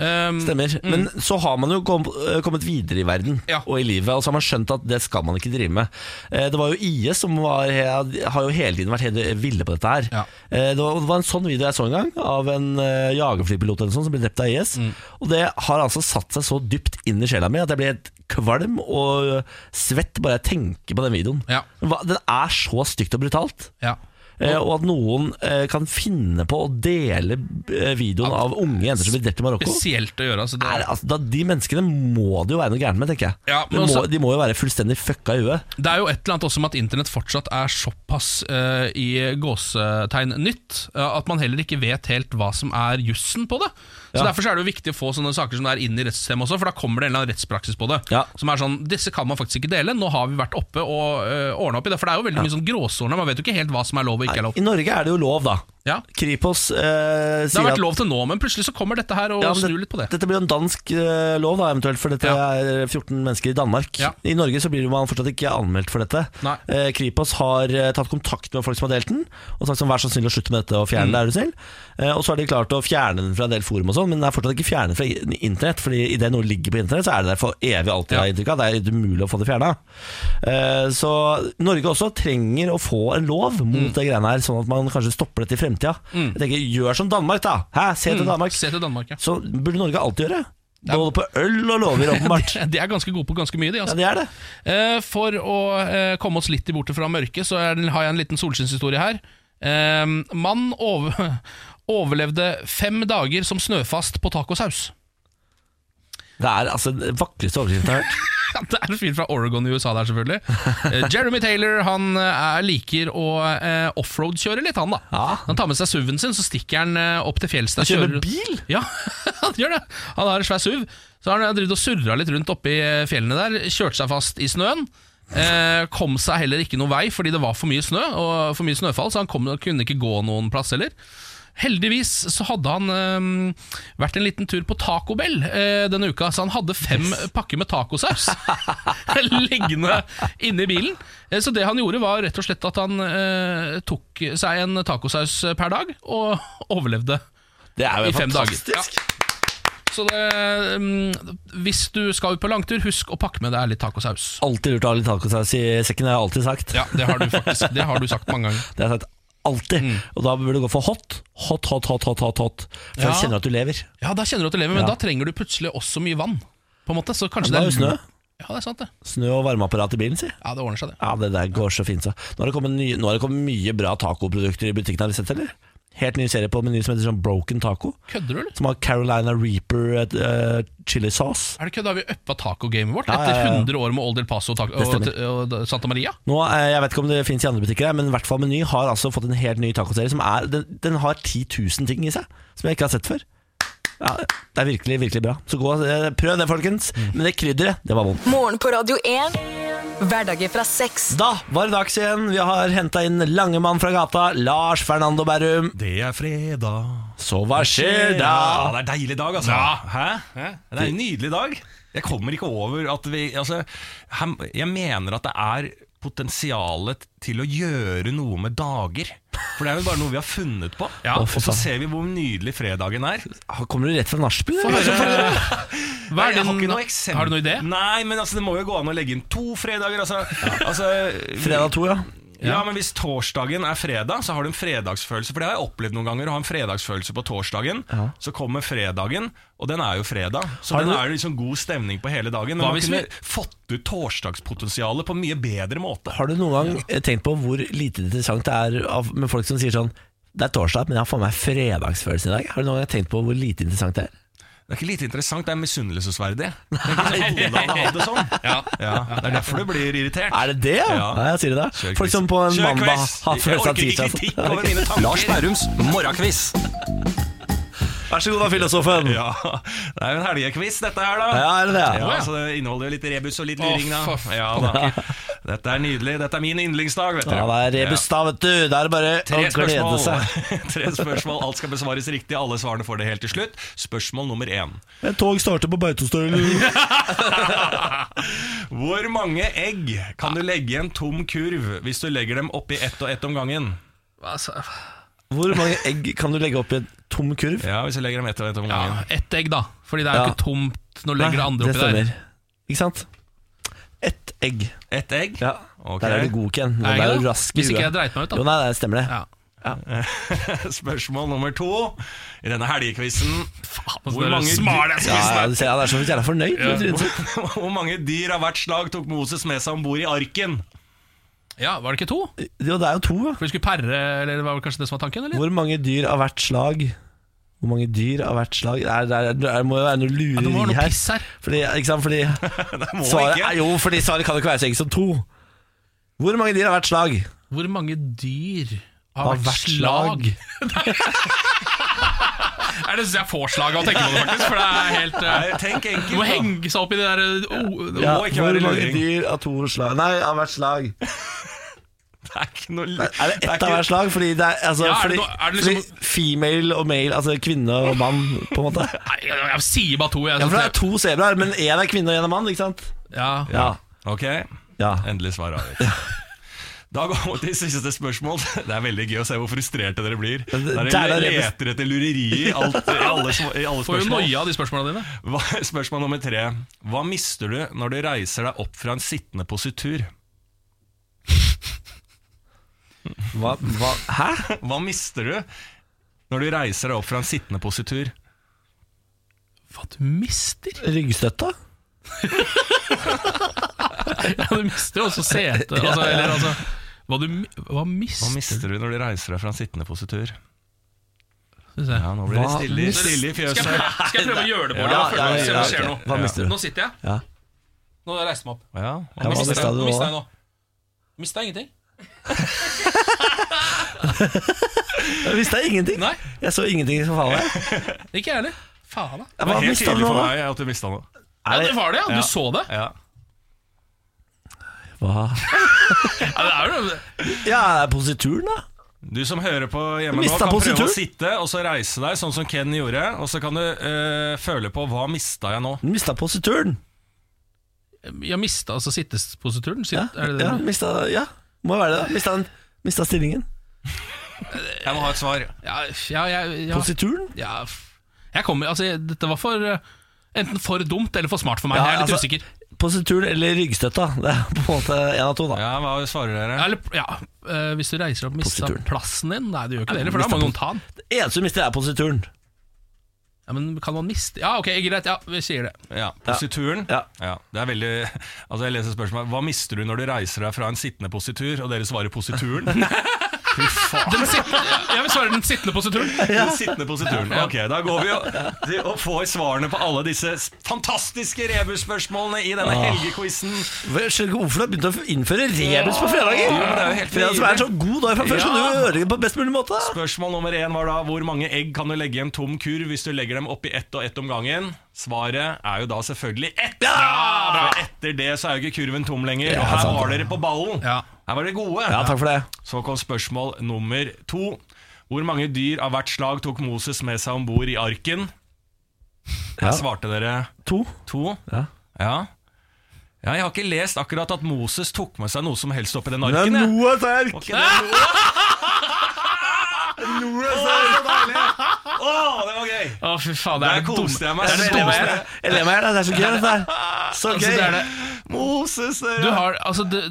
S1: Um,
S2: stemmer. Men så har man jo kom, eh, kommet videre i verden
S1: Ja.
S2: og i livet, og så har man skjønt at det skal man ikke drive med. Eh, Det var jo IS som var, he- har jo hele tiden vært helt ville på dette her.
S1: Ja.
S2: Eh, Det var, det var en sånn video jeg så en gang, av en eh, jagerflypilot eller sånn som ble drept av IS.
S1: Mm.
S2: Og det har altså satt seg så dypt inn i sjela mi at jeg blir helt kvalm og eh, svett bare jeg tenker på den videoen.
S1: Ja.
S2: Hva- Den er så stygt og brutalt.
S1: ja.
S2: Eh, og at noen eh, kan finne på å dele eh, videoen av unge jenter som blir drept i Marokko.
S1: Spesielt å gjøre. Altså, det,
S2: Er, altså, da, de menneskene må det jo være noe gærent med, tenker jeg.
S1: Ja, men altså-
S2: de, må,
S1: også-
S2: de må jo være fullstendig fucka i huet.
S1: Det er jo et eller annet også med at internett fortsatt er såpass eh, i gåsetegn nytt, eh, at man heller ikke vet helt hva som er jussen på det. Så
S2: Ja.
S1: Derfor så er det jo viktig å få sånne saker som det er inn i rettssystemet også, for da kommer det en eller annen rettspraksis på det.
S2: Ja.
S1: Som er sånn, disse kan man faktisk ikke dele, nå har vi vært oppe og uh, ordna opp i det. For det er jo veldig mye sånn gråsoner, man vet jo ikke helt hva som er lov og ikke er lov.
S2: I Norge er det jo lov, da.
S1: Ja.
S2: Kripos eh,
S1: Det har
S2: sier
S1: vært
S2: at
S1: lov til nå, men plutselig så kommer dette her og
S2: Ja, men
S1: snur litt på det.
S2: Dette blir jo en dansk eh, lov, da, eventuelt, for dette
S1: Ja.
S2: er 14 mennesker i Danmark.
S1: Ja.
S2: I Norge så blir man fortsatt ikke anmeldt for dette.
S1: Nei.
S2: Eh, Kripos har eh, tatt kontakt med folk som har delt den, og sagt sånn, vær så snill å slutte med dette og fjerne
S1: Mm.
S2: det, er du snill. Eh, og så har de klart å fjerne den fra en del forum og sånn, men den er fortsatt ikke fjernet fra i- internett, fordi i det noe ligger på internett, så er det der for evig alltid,
S1: Ja.
S2: har jeg inntrykk av. Det er umulig å få det fjerna. Eh, så Norge også trenger å få en lov mot
S1: Mm.
S2: det greiene her, sånn at man kanskje stopper dette i
S1: Mm.
S2: fremtida. Jeg tenker, gjør som Danmark, da! Hæ, se til Danmark.
S1: Se til Danmark, ja.
S2: Så burde Norge alltid gjøre. De holder på øl og lover, *laughs* åpenbart.
S1: De er ganske gode på ganske mye, de.
S2: Ja,
S1: Altså.
S2: det er det.
S1: Eh, For å eh, komme oss litt bort fra mørket, så er, den- har jeg en liten solskinnshistorie her. Eh, Mann over, *laughs* overlevde fem dager som snøfast på tacosaus.
S2: Det er altså den vakreste overskriften jeg har hørt.
S1: Ja, *laughs* Det er en fyr fra Oregon i USA der, *laughs* selvfølgelig. Eh, Jeremy Taylor han eh, er, liker å eh, offroad-kjøre litt, han da.
S2: Ja.
S1: Han tar med seg SUV-en sin, så stikker han eh, opp til fjells. der,
S2: Kjører
S1: kjører-
S2: bil?
S1: Ja, *laughs* han gjør det. Han har en svær SUV. Så har han drevet og surra litt rundt oppi fjellene der, kjørt seg fast i snøen. Eh, kom seg heller ikke noen vei fordi det var for mye snø og for mye snøfall, så han kom, kunne ikke gå noen plass heller. Heldigvis så hadde han eh, vært en liten tur på Taco Bell eh, denne uka, så han hadde fem pakker med tacosaus *laughs* liggende inni bilen. Eh, så det han gjorde, var rett og slett at han eh, tok seg en tacosaus per dag og overlevde.
S2: Det er
S1: I
S2: jo
S1: fem
S2: fantastisk.
S1: dager. Så det, mm, hvis du skal ut på langtur, husk å pakke med deg litt tacosaus.
S2: Alltid lurt å ha litt tacosaus i sekken, har jeg alltid sagt.
S1: Ja, det har du faktisk Det har du sagt mange ganger.
S2: Det har jeg sagt alltid. Og da burde du gå for hot. Hot, hot, hot, hot, hot. hot. For
S1: Ja.
S2: jeg kjenner at du lever.
S1: Ja, Da kjenner du at du lever, men
S2: Ja.
S1: da trenger du plutselig også mye vann. På en måte, så kanskje
S2: Men da
S1: det
S2: er jo snø.
S1: Ja, det er sant, det.
S2: Snø og varmeapparat i bilen, si.
S1: Ja, det ordner seg, det.
S2: Ja, det der går så fint, så. Nå har det kommet, nye, nå har det kommet mye bra tacoprodukter i butikken, har du sett, eller? Helt ny serie på meny som heter sånn Broken Taco.
S1: Kødder du, eller?
S2: Som har Carolina Reaper eh, chili sauce.
S1: Er det kødd? Har vi uppa tacogamet vårt
S2: Ja, ja,
S1: etter
S2: ja.
S1: 100 år med Old El Paso og, taco-
S2: Det
S1: og,
S2: stemmer.
S1: og, og Santa Maria?
S2: Nå, eh, Jeg vet ikke om det finnes i andre butikker, her, men i hvert fall Meny har altså fått en helt ny tacoserie. Som er, den, den har 10 000 ting i seg som jeg ikke har sett før. Ja, det er virkelig virkelig bra. Så gå, eh, Prøv det, folkens. Men det krydderet, det var vondt.
S4: Morgen på Radio 1. Hverdager fra seks.
S2: Da var det dags igjen. Vi har henta inn Langemann fra gata, Lars Fernando Berrum.
S6: Det er fredag.
S2: Så hva skjer
S6: Ja,
S2: da?
S6: det er en deilig dag, altså. Hæ? Det er en nydelig dag. Jeg kommer ikke over at vi altså, her- Jeg mener at det er potensialet til å gjøre noe med dager. For det er jo bare noe vi har funnet på.
S1: Ja.
S6: og så ser vi hvor nydelig fredagen er.
S2: Ah, Kommer du rett fra nachspiel? eller?
S1: Hva er
S6: jeg har
S1: din-
S6: ikke noe eksempel.
S1: Har du noe idé?
S6: Nei, men altså, det må jo gå an å legge inn to fredager. Altså, altså
S2: Fredag to, ja.
S6: Ja, men hvis torsdagen er fredag, så har du en fredagsfølelse. For det har jeg opplevd noen ganger, å ha en fredagsfølelse på torsdagen. Så kommer fredagen, og den er jo fredag. Så
S2: Har
S6: den
S2: du-
S6: er liksom god stemning på hele dagen. Men
S1: Hva
S6: man
S1: hvis
S6: kunne
S1: vi-
S6: fått ut torsdagspotensialet på en mye bedre måte.
S2: Har du noen gang eh, tenkt på hvor lite interessant det er av, med folk som sier sånn Det er torsdag, men jeg har faen meg fredagsfølelse i dag. Har du noen gang tenkt på hvor lite interessant det er?
S6: Det er ikke lite interessant, det er misunnelsesverdig. Det er
S2: *laughs*
S6: ikke så Hvordan har det sånn? Ja. det er derfor du blir irritert.
S2: Er det det? Ja,
S6: Ja.
S2: Nei, jeg sier det.
S6: Kjør quiz.
S2: Folk som på en
S6: Kjør
S2: mandag
S6: quiz.
S2: har altså. følelse av
S6: Jeg orker
S2: tirsdag.
S6: ikke kritikk
S2: *laughs*
S6: over mine tanker. Lars Bærums morgenkviss. *laughs*
S2: Vær så god, da, filosofen.
S6: Ja, det er jo en helgekviss dette her da
S2: Ja, er det det?
S6: Ja,
S1: Å, ja.
S6: så det inneholder jo litt rebus og litt
S1: Å,
S6: luring da
S1: for
S6: Ja da Dette er nydelig, dette er min yndlingsdag vet du
S2: Ja, det er rebus, da, vet du. Da er det bare
S6: Tre
S2: å glede
S6: *laughs*
S2: seg.
S6: spørsmål. Tre spørsmål, alt skal besvares riktig Alle svarene får det helt til slutt Spørsmål nummer én
S2: Et tog starter på Beitostølen.
S6: Hvor mange egg kan du legge i en tom kurv Hvis du legger dem oppi ett og ett om gangen?
S1: Altså,
S2: *laughs* Hvor mange egg kan du legge opp i en tom kurv?
S6: Ja, hvis du legger dem ett og ett om
S1: ja,
S6: gangen
S1: ett egg, da. Fordi det er jo
S2: Ja.
S1: ikke tomt når du legger det andre
S2: det
S1: oppi der.
S2: stemmer. Ikke sant? Ett egg.
S6: Ett egg?
S2: Ja.
S6: Ok.
S2: Der er du god, Ken. Nå
S1: Er jeg
S2: er
S1: det?
S2: du rask i
S1: Hvis ikke jeg
S2: huet.
S1: dreit meg ut, da.
S2: Jo, nei, det stemmer det.
S1: Ja.
S6: *laughs* Spørsmål nummer to I denne helgekvissen Hvor
S1: Hvor mange
S6: mange-
S1: altså, smart jeg
S2: Ja,
S1: skal
S2: ja, du ser, han er så jævla fornøyd.
S6: *laughs* Hvor mange dyr av hvert slag tok Moses med seg ombord i arken?
S1: Ja, Var det ikke to?
S2: Jo, det er jo to. ja.
S1: For vi skulle perre, eller det var vel kanskje det som var tanken? eller?
S2: Hvor mange dyr av hvert slag Hvor mange dyr av hvert slag Det, er, det, er, det må jo være noe
S1: Ja, det må
S2: lureri
S1: være noe
S2: her
S1: piss her.
S2: Fordi, ikke sant?
S1: *laughs*
S2: Fordi
S6: Må
S2: svaret,
S6: ikke.
S2: er- jo, fordi svaret kan jo ikke være så enkelt som to Hvor mange dyr av hvert slag
S1: Hvor mange dyr
S2: Av
S1: har vært
S2: hvert
S1: *laughs* slag? er det jeg får slag av å tenke på det, faktisk? For det er helt eh,
S6: Nei, tenk enkelt.
S1: Du må
S6: da.
S1: henge seg opp i det der eh, oh,
S2: ja,
S6: må ikke
S2: Hvor
S6: være
S2: mange
S6: luring.
S2: dyr av to slag Nei, av hvert slag
S6: Det er ikke noe
S2: Er det ett
S6: ikke-
S2: av hvert slag? Fordi, det er, altså,
S1: Ja, er det
S2: fordi,
S1: noe- er det liksom-
S2: fordi female og male Altså kvinne og mann på
S1: *laughs*
S2: en måte
S1: Nei, jeg, jeg, sier bare to, jeg.
S2: Ja, for det
S1: så
S2: er to zebraer Men en er kvinne og en er mann, ikke sant?
S1: ja.
S2: Ja,
S6: Ok,
S2: ja
S6: endelig svar avgitt. Da går vi til siste spørsmål. Det er veldig gøy å se hvor frustrerte dere blir. Dere
S2: Der er det-
S6: leter etter lureri i, alt, i alle, sm- i alle
S1: Får jo
S6: spørsmål.
S1: noia av de spørsmåla dine.
S6: Hva, spørsmål nummer tre. Hva mister du når du reiser deg opp fra en sittende positur?
S2: hva, hva, Hæ?
S6: Hva mister du når du reiser deg opp fra en sittende positur?
S1: Hva du mister? *laughs*
S2: Ryggstøtta?
S1: Ja, du mister også
S2: *laughs*
S1: sete. Altså, eller altså hva, du, mi- hva
S6: Hva
S1: mister
S6: mister du når du reiser deg fra en sittende positur?
S1: du?
S6: Ja, nå blir det
S2: Hva
S6: stille,
S2: mister-
S6: stille i
S1: Skal jeg,
S6: fjøset.
S1: prøve, skal jeg prøve å gjøre det, Bård?
S2: Ja,
S1: Ja, ja,
S2: ja, ja,
S1: skjer
S2: ja.
S1: nå.
S2: Hva mister du?
S1: Nå sitter jeg.
S2: Ja.
S1: Nå har jeg reist meg opp.
S6: Ja,
S2: Ja, hva
S1: Mistet
S2: mistet
S1: jeg-
S2: du
S1: mistet
S2: da?
S1: jeg nå? Mista jeg ingenting?
S2: Jeg visste jeg ingenting.
S1: Nei.
S2: Jeg så ingenting som faen meg.
S1: Ikke jeg heller. Faen, da.
S6: Det
S2: Hva
S6: var helt
S2: mista du
S6: tydelig
S2: nå,
S6: for
S2: da?
S6: meg at du mista noe.
S1: Ja,
S2: Er
S1: det
S2: det,
S1: var det, ja. Du så det.
S6: Ja.
S2: hva?
S1: Ja, det er jo
S2: Ja, er det posituren, da?
S6: Du som hører på hjemme nå,
S2: Mista
S6: kan prøve
S2: posituren.
S6: å sitte og så reise deg, sånn som Ken gjorde. Og så kan du eh, føle på hva mista jeg nå.
S2: Du mista posituren.
S1: Jeg mista altså sitteposituren. Sitt,
S2: Ja,
S1: er det det?
S2: ja,
S1: du-
S2: mista, ja. må være det. da. Mista, den- mista stillingen.
S6: Jeg må ha et svar.
S1: Ja, ja, jeg- ja,
S2: Posituren?
S1: ja, f- Jeg kommer Altså, jeg- dette var for eh, Enten for dumt eller for smart for meg.
S2: Ja,
S1: jeg er litt
S2: altså-
S1: usikker.
S2: Posituren eller ryggstøtta. Det er på en måte én av to, da.
S6: Ja, Hva svarer dere?
S1: Eller, ja, eh, Hvis du reiser opp og mister
S2: Posituren.
S1: plassen din Nei, du gjør ikke det,
S2: Nei,
S1: heller, for da må
S2: mistet
S1: noen ta den.
S2: Det eneste du mister, er posituren.
S1: Ja, men kan man miste Ja, ok, greit. Ja, vi sier det.
S6: Ja, Posituren.
S2: Ja.
S6: Ja, det er veldig Altså Jeg leser spørsmålet Hva mister du når du reiser deg fra en sittende positur, og dere svarer posituren? Fy faen.
S1: Den sit- ja, jeg vil svare den sittende posituren.
S6: Den sittende posituren. Ok, da går vi og, til å få svarene på alle disse fantastiske rebusspørsmålene i denne helgequizen.
S2: Jeg skjønner ikke hvorfor du har begynt å innføre rebus på fredager.
S6: Jo, men det er jo helt
S2: Fredag som er en så god dag fra før, så du
S1: Ja.
S2: ødelegger på best mulig måte.
S6: Spørsmål nummer én var da hvor mange egg kan du legge i en tom kurv hvis du legger dem oppi ett og ett om gangen? Svaret er jo da selvfølgelig ett!
S2: Ja!
S6: For etter det så er jo ikke kurven tom lenger.
S2: Ja,
S6: og her
S2: sant.
S6: var dere på ballen.
S1: Ja.
S6: Her var dere gode.
S2: Ja, takk for det.
S6: Så kom spørsmål nummer to. Hvor mange dyr av hvert slag tok Moses med seg om bord i arken? Her
S2: Ja.
S6: svarte dere
S2: To.
S6: to.
S2: Ja.
S6: ja. Ja, Jeg har ikke lest akkurat at Moses tok med seg noe som helst oppi den
S2: Det er
S6: arken. jeg.
S2: noe sterk.
S6: Var ikke det noe? *laughs* Noe så så deilig! Å, det var gøy!
S1: Å, fy faen, det er
S6: Der
S1: det
S6: koste
S1: dumme. Det
S6: jeg meg.
S1: er det
S6: så
S1: dummeste.
S6: mye.
S2: Jeg ler meg i hjel. Det er så gøy, dette her. Så
S1: Altså,
S2: gøy.
S1: det er det.
S6: Moses
S1: Du
S6: dere.
S1: har, altså, det,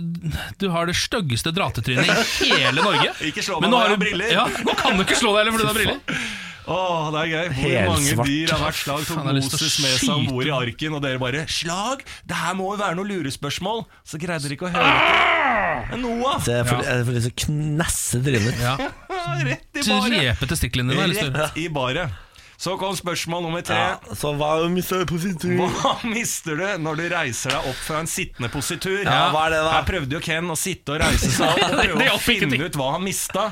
S1: du har det styggeste dratetrynet i hele Norge.
S6: Ikke slå meg
S1: Men
S6: når
S1: nå har
S6: jeg
S1: du-
S6: har briller.
S1: Ja, nå kan du ikke slå deg heller fordi du har briller.
S6: Å, det er gøy. Hvor
S2: Helt
S6: mange
S2: svart.
S6: dyr av hvert slag tok
S1: Faen, jeg har lyst til å
S6: Moses med seg om
S1: skyte.
S6: bord i arken, og dere bare 'Slag? Det her må jo være noe lurespørsmål.' Så greide dere ikke å høre etter.
S1: Ah!
S6: Men Noah!
S2: Så jeg får, jeg får lyst til å knasse trynet.
S1: Ja.
S6: Rett i baret!
S1: Drepe testiklene dine. har jeg lyst til å gjøre.
S6: Rett i baret. Så kom spørsmål nummer tre.
S2: Ja, så hva mister du på sin tur?
S6: Hva *laughs* mister du når du reiser deg opp fra en sittende positur?
S2: Ja, hva er det da?
S6: Her prøvde jo Ken å sitte og reise
S2: *laughs*
S6: seg opp og
S1: det
S6: prøve å
S1: hjalp
S6: finne
S1: ingenting.
S6: ut hva han mista.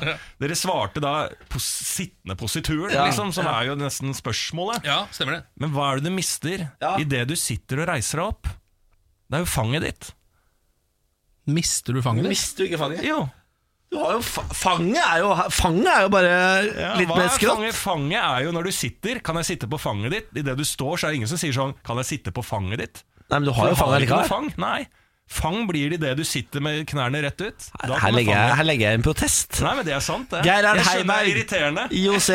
S6: Dere svarte da på sittende posituren,
S2: Ja.
S6: liksom, som er jo nesten spørsmålet.
S1: Ja, stemmer det.
S6: Men hva er det du mister
S2: Ja.
S6: idet du sitter og reiser deg opp? Det er jo fanget ditt.
S1: Mister du fanget ditt?
S2: Mister du ikke fanget?
S6: Jo.
S2: Du har jo fa fanget er jo Fanget er jo bare
S6: Ja,
S2: litt
S6: hva
S2: mer
S6: er
S2: skrått.
S6: Fanget? fanget er jo når du sitter. Kan jeg sitte på fanget ditt? Idet du står, så er det ingen som sier sånn Kan jeg sitte på fanget ditt?
S2: Nei, men du
S6: For
S2: har jo fanget
S6: ikke noe
S2: likevel.
S6: Fang. Nei. Fang blir det idet du sitter med knærne rett ut. Da
S2: Her,
S6: kommer
S2: legger jeg,
S6: fanget.
S2: her legger jeg en protest.
S6: Nei, men det er sant, det.
S2: Geir Arne
S6: jeg skjønner det
S2: Heiberg.
S6: er irriterende.
S2: IOC.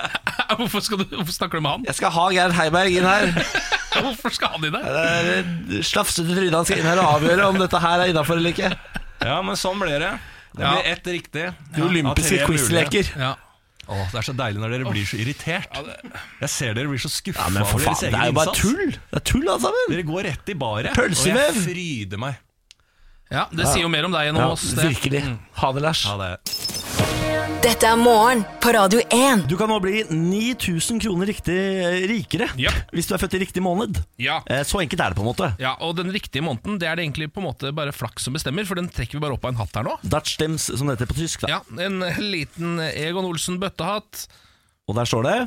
S1: *laughs* Hvorfor, skal du, hvorfor snakker du med han?
S2: Jeg skal ha Geir Heiberg inn her.
S1: *laughs* Hvorfor skal han i det?
S2: Det er det Slafsete trynet han skal inn her og avgjøre om dette her er innafor eller ikke.
S6: Ja, men sånn ble det. Det
S1: Ja.
S6: blir ett riktig.
S2: De olympiske
S6: Av tre mulige.
S2: quizleker.
S1: Ja.
S6: Åh, det er så deilig når dere blir så irritert. Jeg ser dere blir så skuffa
S2: Ja, men for
S6: over deres
S2: faen, det
S6: egen
S2: er jo bare
S6: innsats.
S2: tull. Det er tull, alt sammen.
S6: Dere går rett i baret,
S2: Pølsevev.
S6: og jeg fryder meg.
S1: ja, Det sier jo mer om deg enn om
S2: Ja,
S1: oss. Det.
S2: virkelig. Ha det, Lars.
S6: Ja, det
S4: Dette er morgen på Radio 1.
S2: Du kan nå bli 9000 kroner riktig eh, rikere
S1: Japp.
S2: hvis du er født i riktig måned.
S1: Ja.
S2: Eh, Så enkelt er det, på en måte.
S1: ja, Og den riktige måneden Det er det egentlig på en måte bare flaks som bestemmer, for den trekker vi bare opp av en hatt her nå.
S2: Dutchstems, som det heter på tysk. Da.
S1: Ja, En liten Egon Olsen-bøttehatt.
S2: Og der står det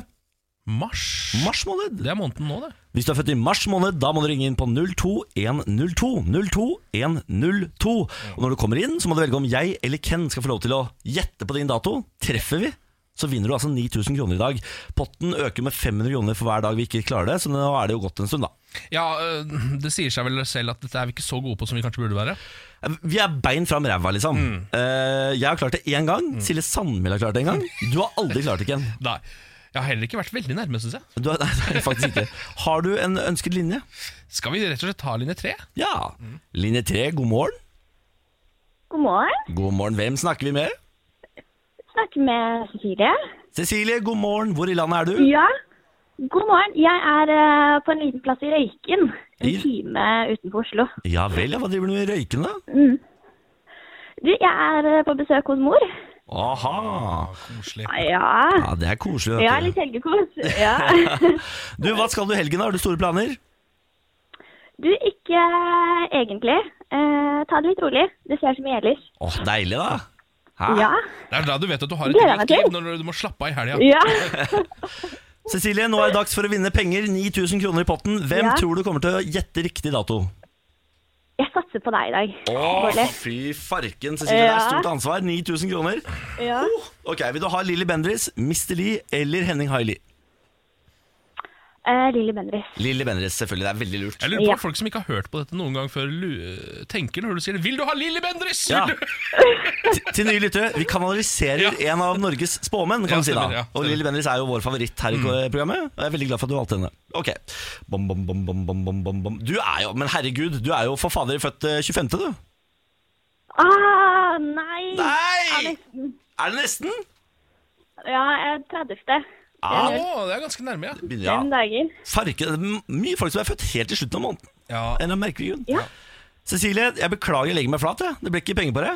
S1: Mars.
S2: mars måned.
S1: Det er måneden nå, det.
S2: Hvis du er født i mars måned, da må du ringe inn på 02102. 02102. Og når du kommer inn, så må du velge om jeg eller Ken skal få lov til å gjette på din dato. Treffer vi, så vinner du altså 9000 kroner i dag. Potten øker med 500 kroner for hver dag vi ikke klarer det, så nå er det jo gått en stund, da.
S1: Ja, øh, Det sier seg vel selv at dette er vi ikke så gode på som vi kanskje burde være.
S2: Vi er bein fram ræva, liksom. Eh, jeg har klart det én gang. Silje Sandmæl har klart det én gang. Du har aldri klart det, Ken.
S1: Nei, Jeg har heller ikke vært veldig nærme, syns jeg.
S2: Du har, *laughs* nei, det har jeg faktisk ikke. Har du en ønsket linje?
S1: Skal vi rett og slett ta linje tre?
S2: Ja. Linje tre, god morgen.
S7: God morgen.
S2: God morgen, Hvem snakker vi med?
S7: Snakker med Cecilie.
S2: Cecilie, god morgen. Hvor i landet er du?
S7: Ja. God morgen. Jeg er eh, på en liten plass i Røyken. En
S2: I-
S7: time utenfor Oslo.
S2: Ja vel, ja. Hva driver du med i røyken, da?
S7: Du, jeg er eh, på besøk hos mor.
S2: Aha.
S1: Koselig.
S7: Ja.
S2: Ja, Det er koselig.
S7: Ja,
S2: Dette.
S7: litt *laughs* helgekos. Ja.
S2: Du, Hva skal du i helgen? da? Har du store planer?
S7: Du, ikke eh, egentlig. Eh, ta det litt rolig. Det skjer som i ellers.
S2: Åh, Deilig, da. Hæ?
S7: Ja.
S1: Det er da du vet at du har et
S7: Gleder meg
S1: aktivt liv,
S7: til.
S1: når du må slappe av i helga.
S7: Ja.
S2: Cecilie, nå er det dags for å vinne penger. 9000 kroner i potten. Hvem
S7: Ja.
S2: tror du kommer til å gjette riktig dato?
S7: Jeg satser på deg i dag.
S2: Å,
S7: Bårdli.
S2: fy farken, Cecilie. Det er
S7: Ja.
S2: stort ansvar. 9000 kroner.
S7: Ja.
S2: Ok, Vil du ha Lilly Bendriss, Mr. Lee eller Henning Haili?
S7: Eh, Lilly Bendriss.
S2: Lilly Bendriss, selvfølgelig. Det er veldig lurt.
S1: Jeg lurer på
S7: Ja.
S1: at folk som ikke har hørt på dette noen gang før, lu- tenker når du sier det. 'Vil du ha Lilly Bendriss?'
S2: Ja.
S1: Vil du-
S2: Til- Til nye lyttere, vi kanaliserer
S1: Ja.
S2: en av Norges spåmenn,
S1: Ja,
S2: kan vi si da.
S1: stemmer, ja,
S2: og
S1: stemmer. Mm.
S2: Lilly Bendriss er jo vår favoritt her i programmet. Og jeg er veldig glad for at du valgte henne. Ok. Bom, bom, bom, bom, bom, bom, bom, bom. Du er jo, men herregud, du er jo for fader født eh, 25., du.
S7: Ah, nei. Ja,
S2: Nei!
S7: nesten.
S2: Er det nesten?
S7: Ja, jeg er 30.
S2: Ja.
S1: Å, det er ganske nærme, ja.
S2: Begynner,
S7: Fem
S2: ja.
S7: dager.
S2: Farke, det er m- mye folk som er født helt i slutten av måneden.
S1: ja.
S2: En eller annen merkelig grunn.
S7: Ja.
S2: Cecilie, jeg beklager jeg legger meg flat. Jeg. Det ble ikke penger på det.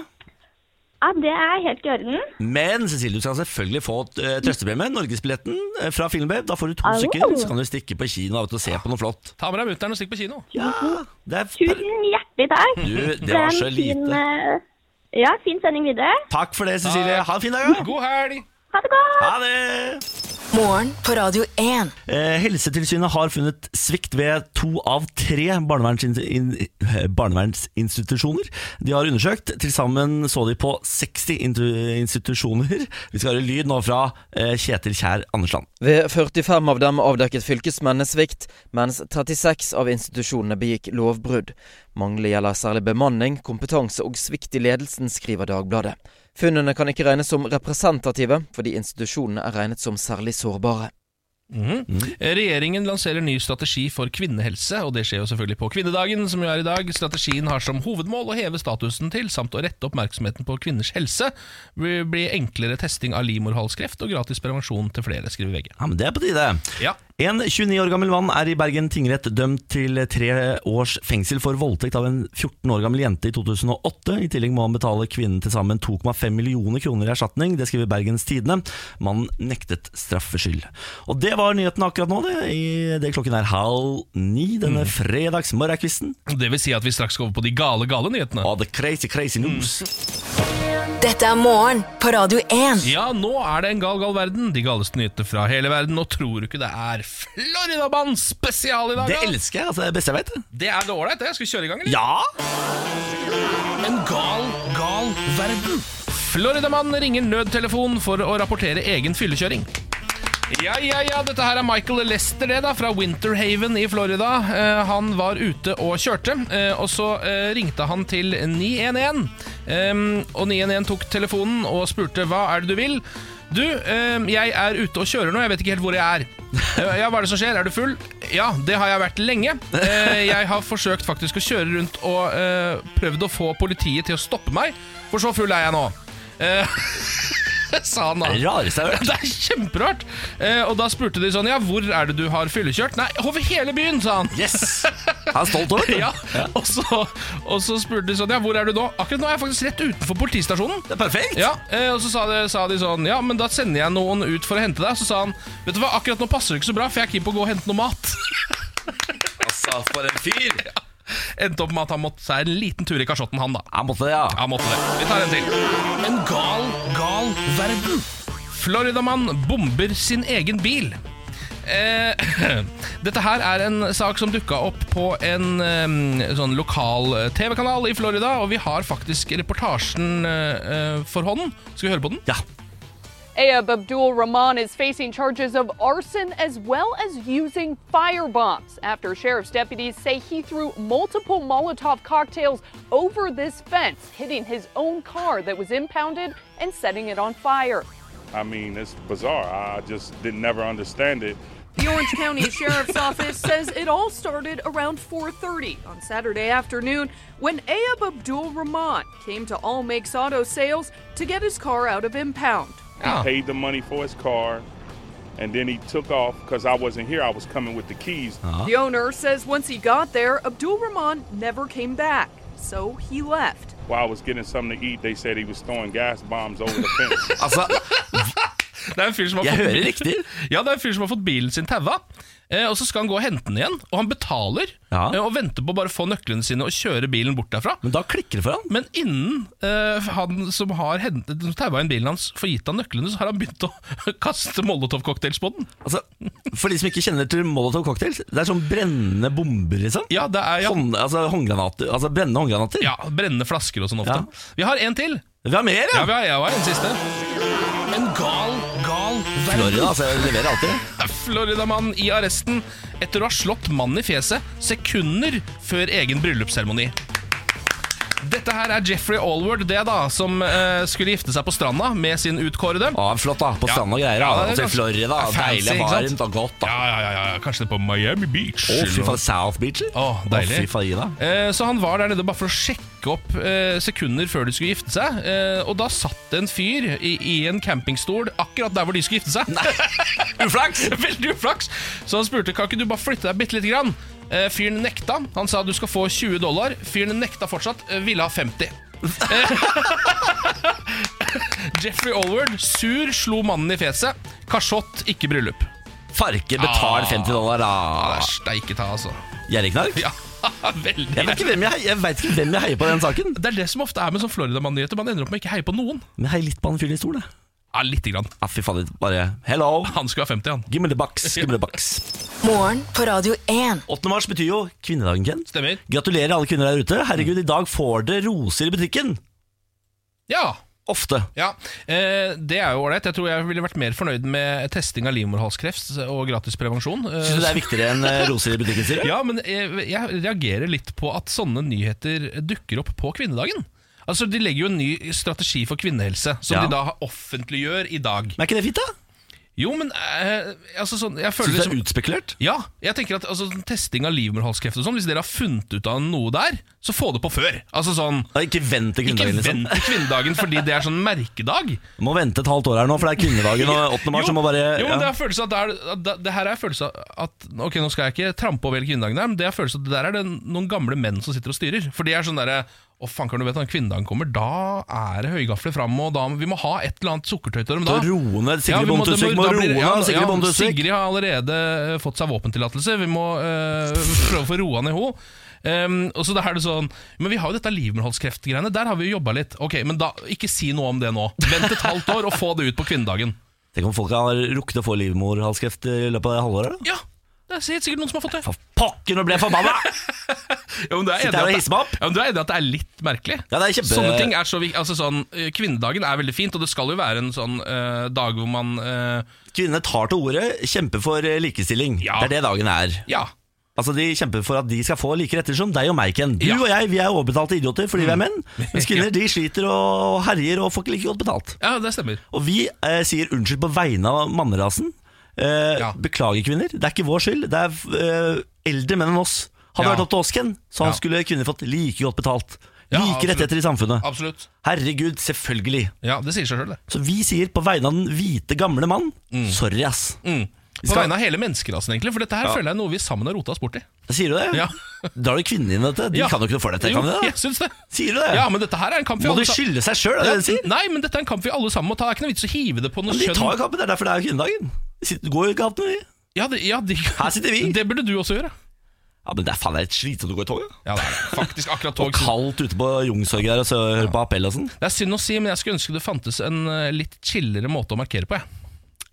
S7: Ja, det er helt i orden.
S2: Men Cecilie, du skal selvfølgelig få eh, trøstepremie. Norgesbilletten eh, fra Filmbabe. Da får du to
S7: Au.
S2: stykker, så kan du stikke på kino og se på noe flott.
S1: Ta med deg mutter'n og stikk på kino.
S2: Ja, det er per
S7: Tusen hjertelig takk.
S2: du, det
S7: er
S2: var
S7: en
S2: så
S7: Fin,
S2: lite.
S7: eh, ja, fin sending videre.
S2: Takk for det, Cecilie. Ha en fin dag. da.
S1: God helg!
S7: Ha det godt!
S2: Ha det!
S4: Morgen på Radio 1.
S2: Eh, Helsetilsynet har funnet svikt ved to av tre barnevernsin- in- eh, barnevernsinstitusjoner. De har undersøkt. Til sammen så de på 60 intu- institusjoner. Vi skal høre lyd nå fra eh, Kjetil Kjær Andersland.
S8: Ved 45 av dem avdekket fylkesmennene svikt, mens 36 av institusjonene begikk lovbrudd. Mangler gjelder særlig bemanning, kompetanse og svikt i ledelsen, skriver Dagbladet. Funnene kan ikke regnes som representative, fordi institusjonene er regnet som særlig sårbare.
S1: Regjeringen lanserer ny strategi for kvinnehelse, og det skjer jo selvfølgelig på kvinnedagen, som jo er i dag. Strategien har som hovedmål å heve statusen til, samt å rette oppmerksomheten på kvinners helse. Det blir enklere testing av livmorhalskreft og gratis prevensjon til flere, skriver VG.
S2: Ja, men det er på tide.
S1: Ja,
S2: En 29 år gammel mann er i Bergen tingrett dømt til tre års fengsel for voldtekt av en 14 år gammel jente i 2008. I tillegg må han betale kvinnen til sammen 2,5 millioner kroner i erstatning. Det skriver Bergens Tidende. Mannen nektet straffskyld. Og det var nyheten akkurat nå, det. I det klokken er halv ni denne
S1: Mm.
S2: fredagsmorgenkvisten.
S1: Det vil si at vi straks skal over på de gale, gale nyhetene.
S2: All the crazy, crazy
S1: Mm.
S2: news.
S4: Dette er morgen på Radio 1.
S1: Ja, nå er det en gal, gal verden. De galeste nyhetene fra hele verden. Og tror du ikke det er Floridabanen spesial i dag?
S2: Det
S1: da?
S2: elsker jeg, altså. Det er det beste jeg vet.
S1: det er det ålreit, det. Skal vi kjøre i gang, eller?
S2: Ja!
S1: En gal, gal verden. Floridamann ringer nødtelefon for å rapportere egen fyllekjøring. Ja, ja, ja, dette her er Michael Lester det da, fra Winterhaven i Florida. Eh, han var ute og kjørte, eh, og så eh, ringte han til 911. Em, Ehm, og 911 tok telefonen og spurte hva er det du vil? Du, em, jeg er ute og kjører nå, jeg vet ikke helt hvor jeg er. Eh, Ja, hva er *laughs* det som skjer? Er du full? Ja, det har jeg vært lenge. Eh, jeg har forsøkt faktisk å kjøre rundt og eh, prøvd å få politiet til å stoppe meg, for så full er jeg nå. Eh, *laughs* sa han da.
S2: Det rareste jeg har
S1: *laughs*
S2: hørt.
S1: Det er kjemperart! Eh, og da spurte de sånn Ja, hvor er det du har fyllekjørt? Nei, over hele byen, sa han. *laughs*
S2: Yes! Han er stolt over det.
S1: Ja, og så, og så spurte de sånn Ja, hvor er du nå? Akkurat nå er jeg faktisk rett utenfor politistasjonen.
S2: Det er perfekt.
S1: Ja, eh, Og så sa de, sa de sånn Ja, men da sender jeg noen ut for å hente deg. Så sa han Vet du hva, akkurat nå passer det ikke så bra, for jeg er keen på å gå og hente noe mat. *laughs*
S2: Altså, for en fyr.
S1: Endte opp med at han måtte seg en liten tur i kasjotten, han da.
S2: Han måtte det, ja.
S1: Ja, måtte det. Vi tar en til. En gal, gal verden. Floridamann bomber sin egen bil. Eh, *clears throat* dette her er en sak som dukka opp på en eh, sånn lokal eh, TV-kanal i Florida, og vi har faktisk reportasjen eh, eh, for hånden. Skal vi høre på den?
S2: ja.
S9: Ayub Abdul Rahman is facing charges of arson as well as using firebombs after sheriff's deputies say he threw multiple Molotov cocktails over this fence, hitting his own car that was impounded and setting it on fire.
S10: I mean, it's bizarre. I just didn't never understand it.
S9: The Orange County Sheriff's Office says it all started around 4:30 on Saturday afternoon when Ayub Abdul Rahman came to All Makes Auto Sales to get his car out of impound.
S1: Ja.
S10: Paid the money for his car, and then he took off because I wasn't here. I was coming with the keys.
S9: The owner says once he got there, Abdul Rahman never came back, so he left.
S10: While I was getting something to eat, they said he was throwing gas bombs over the fence.
S2: Altså,
S1: Det er en fyr som har
S2: Jeg
S1: fått
S2: hører riktig.
S1: Ja, det er en fyr som har fått bilen sin taua. Eh, og så skal han gå og hente den igjen, og han betaler.
S2: Ja.
S1: Eh, og venter på å bare få nøklene sine og kjøre bilen bort derfra.
S2: men da klikker det for han.
S1: Men innen eh, han som har hentet som taua inn bilen hans, får gitt han nøklene, så har han begynt å *laughs* kaste molotovcocktails på den.
S2: Altså, for de som ikke kjenner til Molotov cocktails, det er sånn brennende bomber, liksom.
S1: Ja, det er ja,
S2: Hånd, altså, håndgranater, altså brennende håndgranater.
S1: ja, Brennende flasker og sånn ofte.
S2: Ja.
S1: Vi har en til.
S2: Vi har mer,
S1: Ja,
S2: ja!
S1: vi har, jeg har en siste. En gal, gal verden.
S2: Florida, altså, jeg leverer alltid.
S1: *laughs* Floridamann i arresten etter å ha slått mannen i fjeset sekunder før egen bryllupsseremoni. Dette her er Jeffrey Allward, det da, som eh, skulle gifte seg på stranda med sin utkårede.
S2: Ja, flott, da. På
S1: Ja.
S2: stranda og greier.
S1: Ja, det
S2: da.
S1: er
S2: altså,
S1: ganske-
S2: i Florida.
S1: det er fancy,
S2: Deilig
S1: ikke sant?
S2: varmt og godt, da.
S1: Ja, ja, ja, ja, kanskje det er på Miami Beach.
S2: Å, fy
S1: eller noe.
S2: faen. South Beach. eller?
S1: Å, deilig.
S2: Å, fy faen, Ida.
S1: Eh, Så han var der nede bare for å sjekke opp eh, sekunder før de skulle gifte seg. eh, Og da satt det en fyr i, i en campingstol akkurat der hvor de skulle gifte seg. *laughs* uflaks! Veldig uflaks. Så han spurte kan ikke du bare flytte deg bitte lite grann. Eh, Fyren nekta. Han sa du skal få 20 dollar. Fyren nekta fortsatt. eh, Ville ha 50. Eh, *laughs* Jeffrey Allward, sur, slo mannen i fjeset. Kasjott, ikke bryllup.
S2: Farke, betal
S1: Ah.
S2: 50 dollar,
S1: Det er
S2: da.
S1: steike ta, altså.
S2: Gjerrigknark.
S1: Ja, *laughs* veldig.
S2: Jeg vet ikke hvem jeg, hei- jeg, vet ikke hvem jeg heier på i den saken.
S1: Det er det som ofte er med sånn Floridamann-nyheter. Man ender opp med å ikke heie på noen.
S2: Men jeg heier litt på han fyren i stol, da.
S1: Ja, lite grann.
S2: Ja, fy faen, litt bare Hello,
S1: Han skulle ha 50, han.
S2: give me the box, give me the box.
S4: Morgen på Radio 1.
S2: 8. mars betyr jo kvinnedagen, Ken.
S1: Stemmer.
S2: Gratulerer alle kvinner der ute. Herregud, i dag får dere roser i butikken.
S1: Ja.
S2: Ofte.
S1: ja. Eh, det er jo ålreit. Jeg tror jeg ville vært mer fornøyd med testing av livmorhalskreft og gratis prevensjon. Eh,
S2: Syns du det er viktigere enn eh, roser i butikken, sier du?
S1: ja, men jeg, jeg reagerer litt på at sånne nyheter dukker opp på kvinnedagen. Altså, De legger jo en ny strategi for kvinnehelse, som
S2: Ja.
S1: de da offentliggjør i dag.
S2: Men er ikke det fint, da?
S1: Jo, men eh, altså sånn, jeg føler
S2: Syns du det
S1: liksom
S2: er utspekulert?
S1: Ja, jeg tenker at altså, sånn testing av livmorhalskreft og sånn, hvis dere har funnet ut av noe der, så få det på før. Altså sånn
S2: Ja, Ikke vent til
S1: Ikke
S2: kvinnedagen, liksom.
S1: vent til kvinnedagen fordi det er sånn merkedag.
S2: Må vente et halvt år her nå, for det er kvinnedagen og 8.
S1: *laughs*
S2: mars.
S1: Jo,
S2: så må bare,
S1: jo, men det
S2: ja.
S1: er følelse at det, er, at det- det her er følelse av at Ok, nå skal jeg ikke trampe over hele kvinnedagen, her, men det er følelse at det der er det noen gamle menn som sitter og styrer. For de er sånn derre Å, faen, kan du vite når kvinnedagen kommer? Da er det høygafler fram, og da må- Vi må ha et eller annet sukkertøy til dem da.
S2: Så roe ned. Sigrid
S1: vi må- det
S2: Bondtusvik må
S1: da blir-
S2: roe ned,
S1: ja,
S2: Sigrid
S1: ja,
S2: Bondtusvik.
S1: Sigrid har allerede eh, fått seg våpentillatelse. Vi må eh, *laughs* prøve å få roa ned henne. Ehm, og så da er det sånn Men vi har jo dette livmorhalskreftgreiene. Der har vi jo jobba litt. Ok, Men da, ikke si noe om det nå. Vent et halvt år, og få det ut på kvinnedagen.
S2: Tenk om folk har rukket å få livmorhalskreft i løpet av det halvåret? da?
S1: Ja, det er helt sikkert noen som har fått det.
S2: For pokker, nå ble jeg
S1: *laughs*
S2: forbanna!
S1: Ja, men du er enig
S2: Sitter her og
S1: at det-
S2: hisser meg opp.
S1: Ja, men Du er enig at det er litt merkelig?
S2: Ja, det er kjempe-
S1: Sånne ting er så vik- altså, sånn, eh, Kvinnedagen er veldig fint, og det skal jo være en sånn eh, dag hvor man eh,
S2: Kvinnene tar til orde, kjemper for eh, likestilling.
S1: Ja.
S2: Det er det dagen er.
S1: Ja.
S2: Altså De kjemper for at de skal få like retter som deg og meg, Ken. Du
S1: Ja. Mm.
S2: og jeg vi er overbetalte idioter fordi vi er menn.
S1: *laughs*
S2: Mens kvinner de sliter og herjer og får ikke like godt betalt.
S1: ja, det stemmer.
S2: Og vi eh, sier unnskyld på vegne av mannerasen. Eh,
S1: Ja.
S2: Beklager, kvinner. Det er ikke vår skyld. Det er eh, eldre menn enn oss. Hadde det
S1: Ja.
S2: vært opp til oss, Ken, så
S1: Ja.
S2: skulle kvinner fått like godt betalt.
S1: Ja,
S2: like
S1: absolutt.
S2: rettigheter i samfunnet.
S1: Absolutt.
S2: Herregud, selvfølgelig.
S1: Ja, Det sier seg sjøl, det.
S2: Så vi sier på vegne av den hvite, gamle mann sorry, ass.
S1: Mm. På
S2: skal-
S1: vegne av hele menneskerasen, egentlig. For dette her føler jeg er noe vi sammen har rota oss borti.
S2: Sier du det?
S1: *laughs* Ja.
S2: Da er det kvinnene inne i dette. De
S1: Ja.
S2: kan jo ikke noe for dette.
S1: Jo,
S2: Kan de
S1: jeg
S2: det?
S1: syns det.
S2: Sier du det?
S1: Ja, men dette her er en kamp vi
S2: Må de
S1: alle sa-
S2: skylde seg sjøl, er det det du sier?
S1: Nei, men dette er en kamp vi alle sammen må ta. Det er ikke noe vits å hive det på noe
S2: Men de tar jo
S1: kjønn.
S2: kampen, det er derfor det er kvinnedagen. De sitter- Går jo i gatene, de.
S1: Ja, det, ja, de,
S2: Her sitter vi.
S1: Det burde du også gjøre.
S2: Ja, men det er faen det er litt slitsomt å gå i toget.
S1: Ja, det er faktisk akkurat tog.
S2: Og kaldt ute på Youngstorget der og så høre på appell og sånn.
S1: Det er synd å si, men jeg skulle ønske det fantes en eh, litt chillere måte å markere på. Jeg.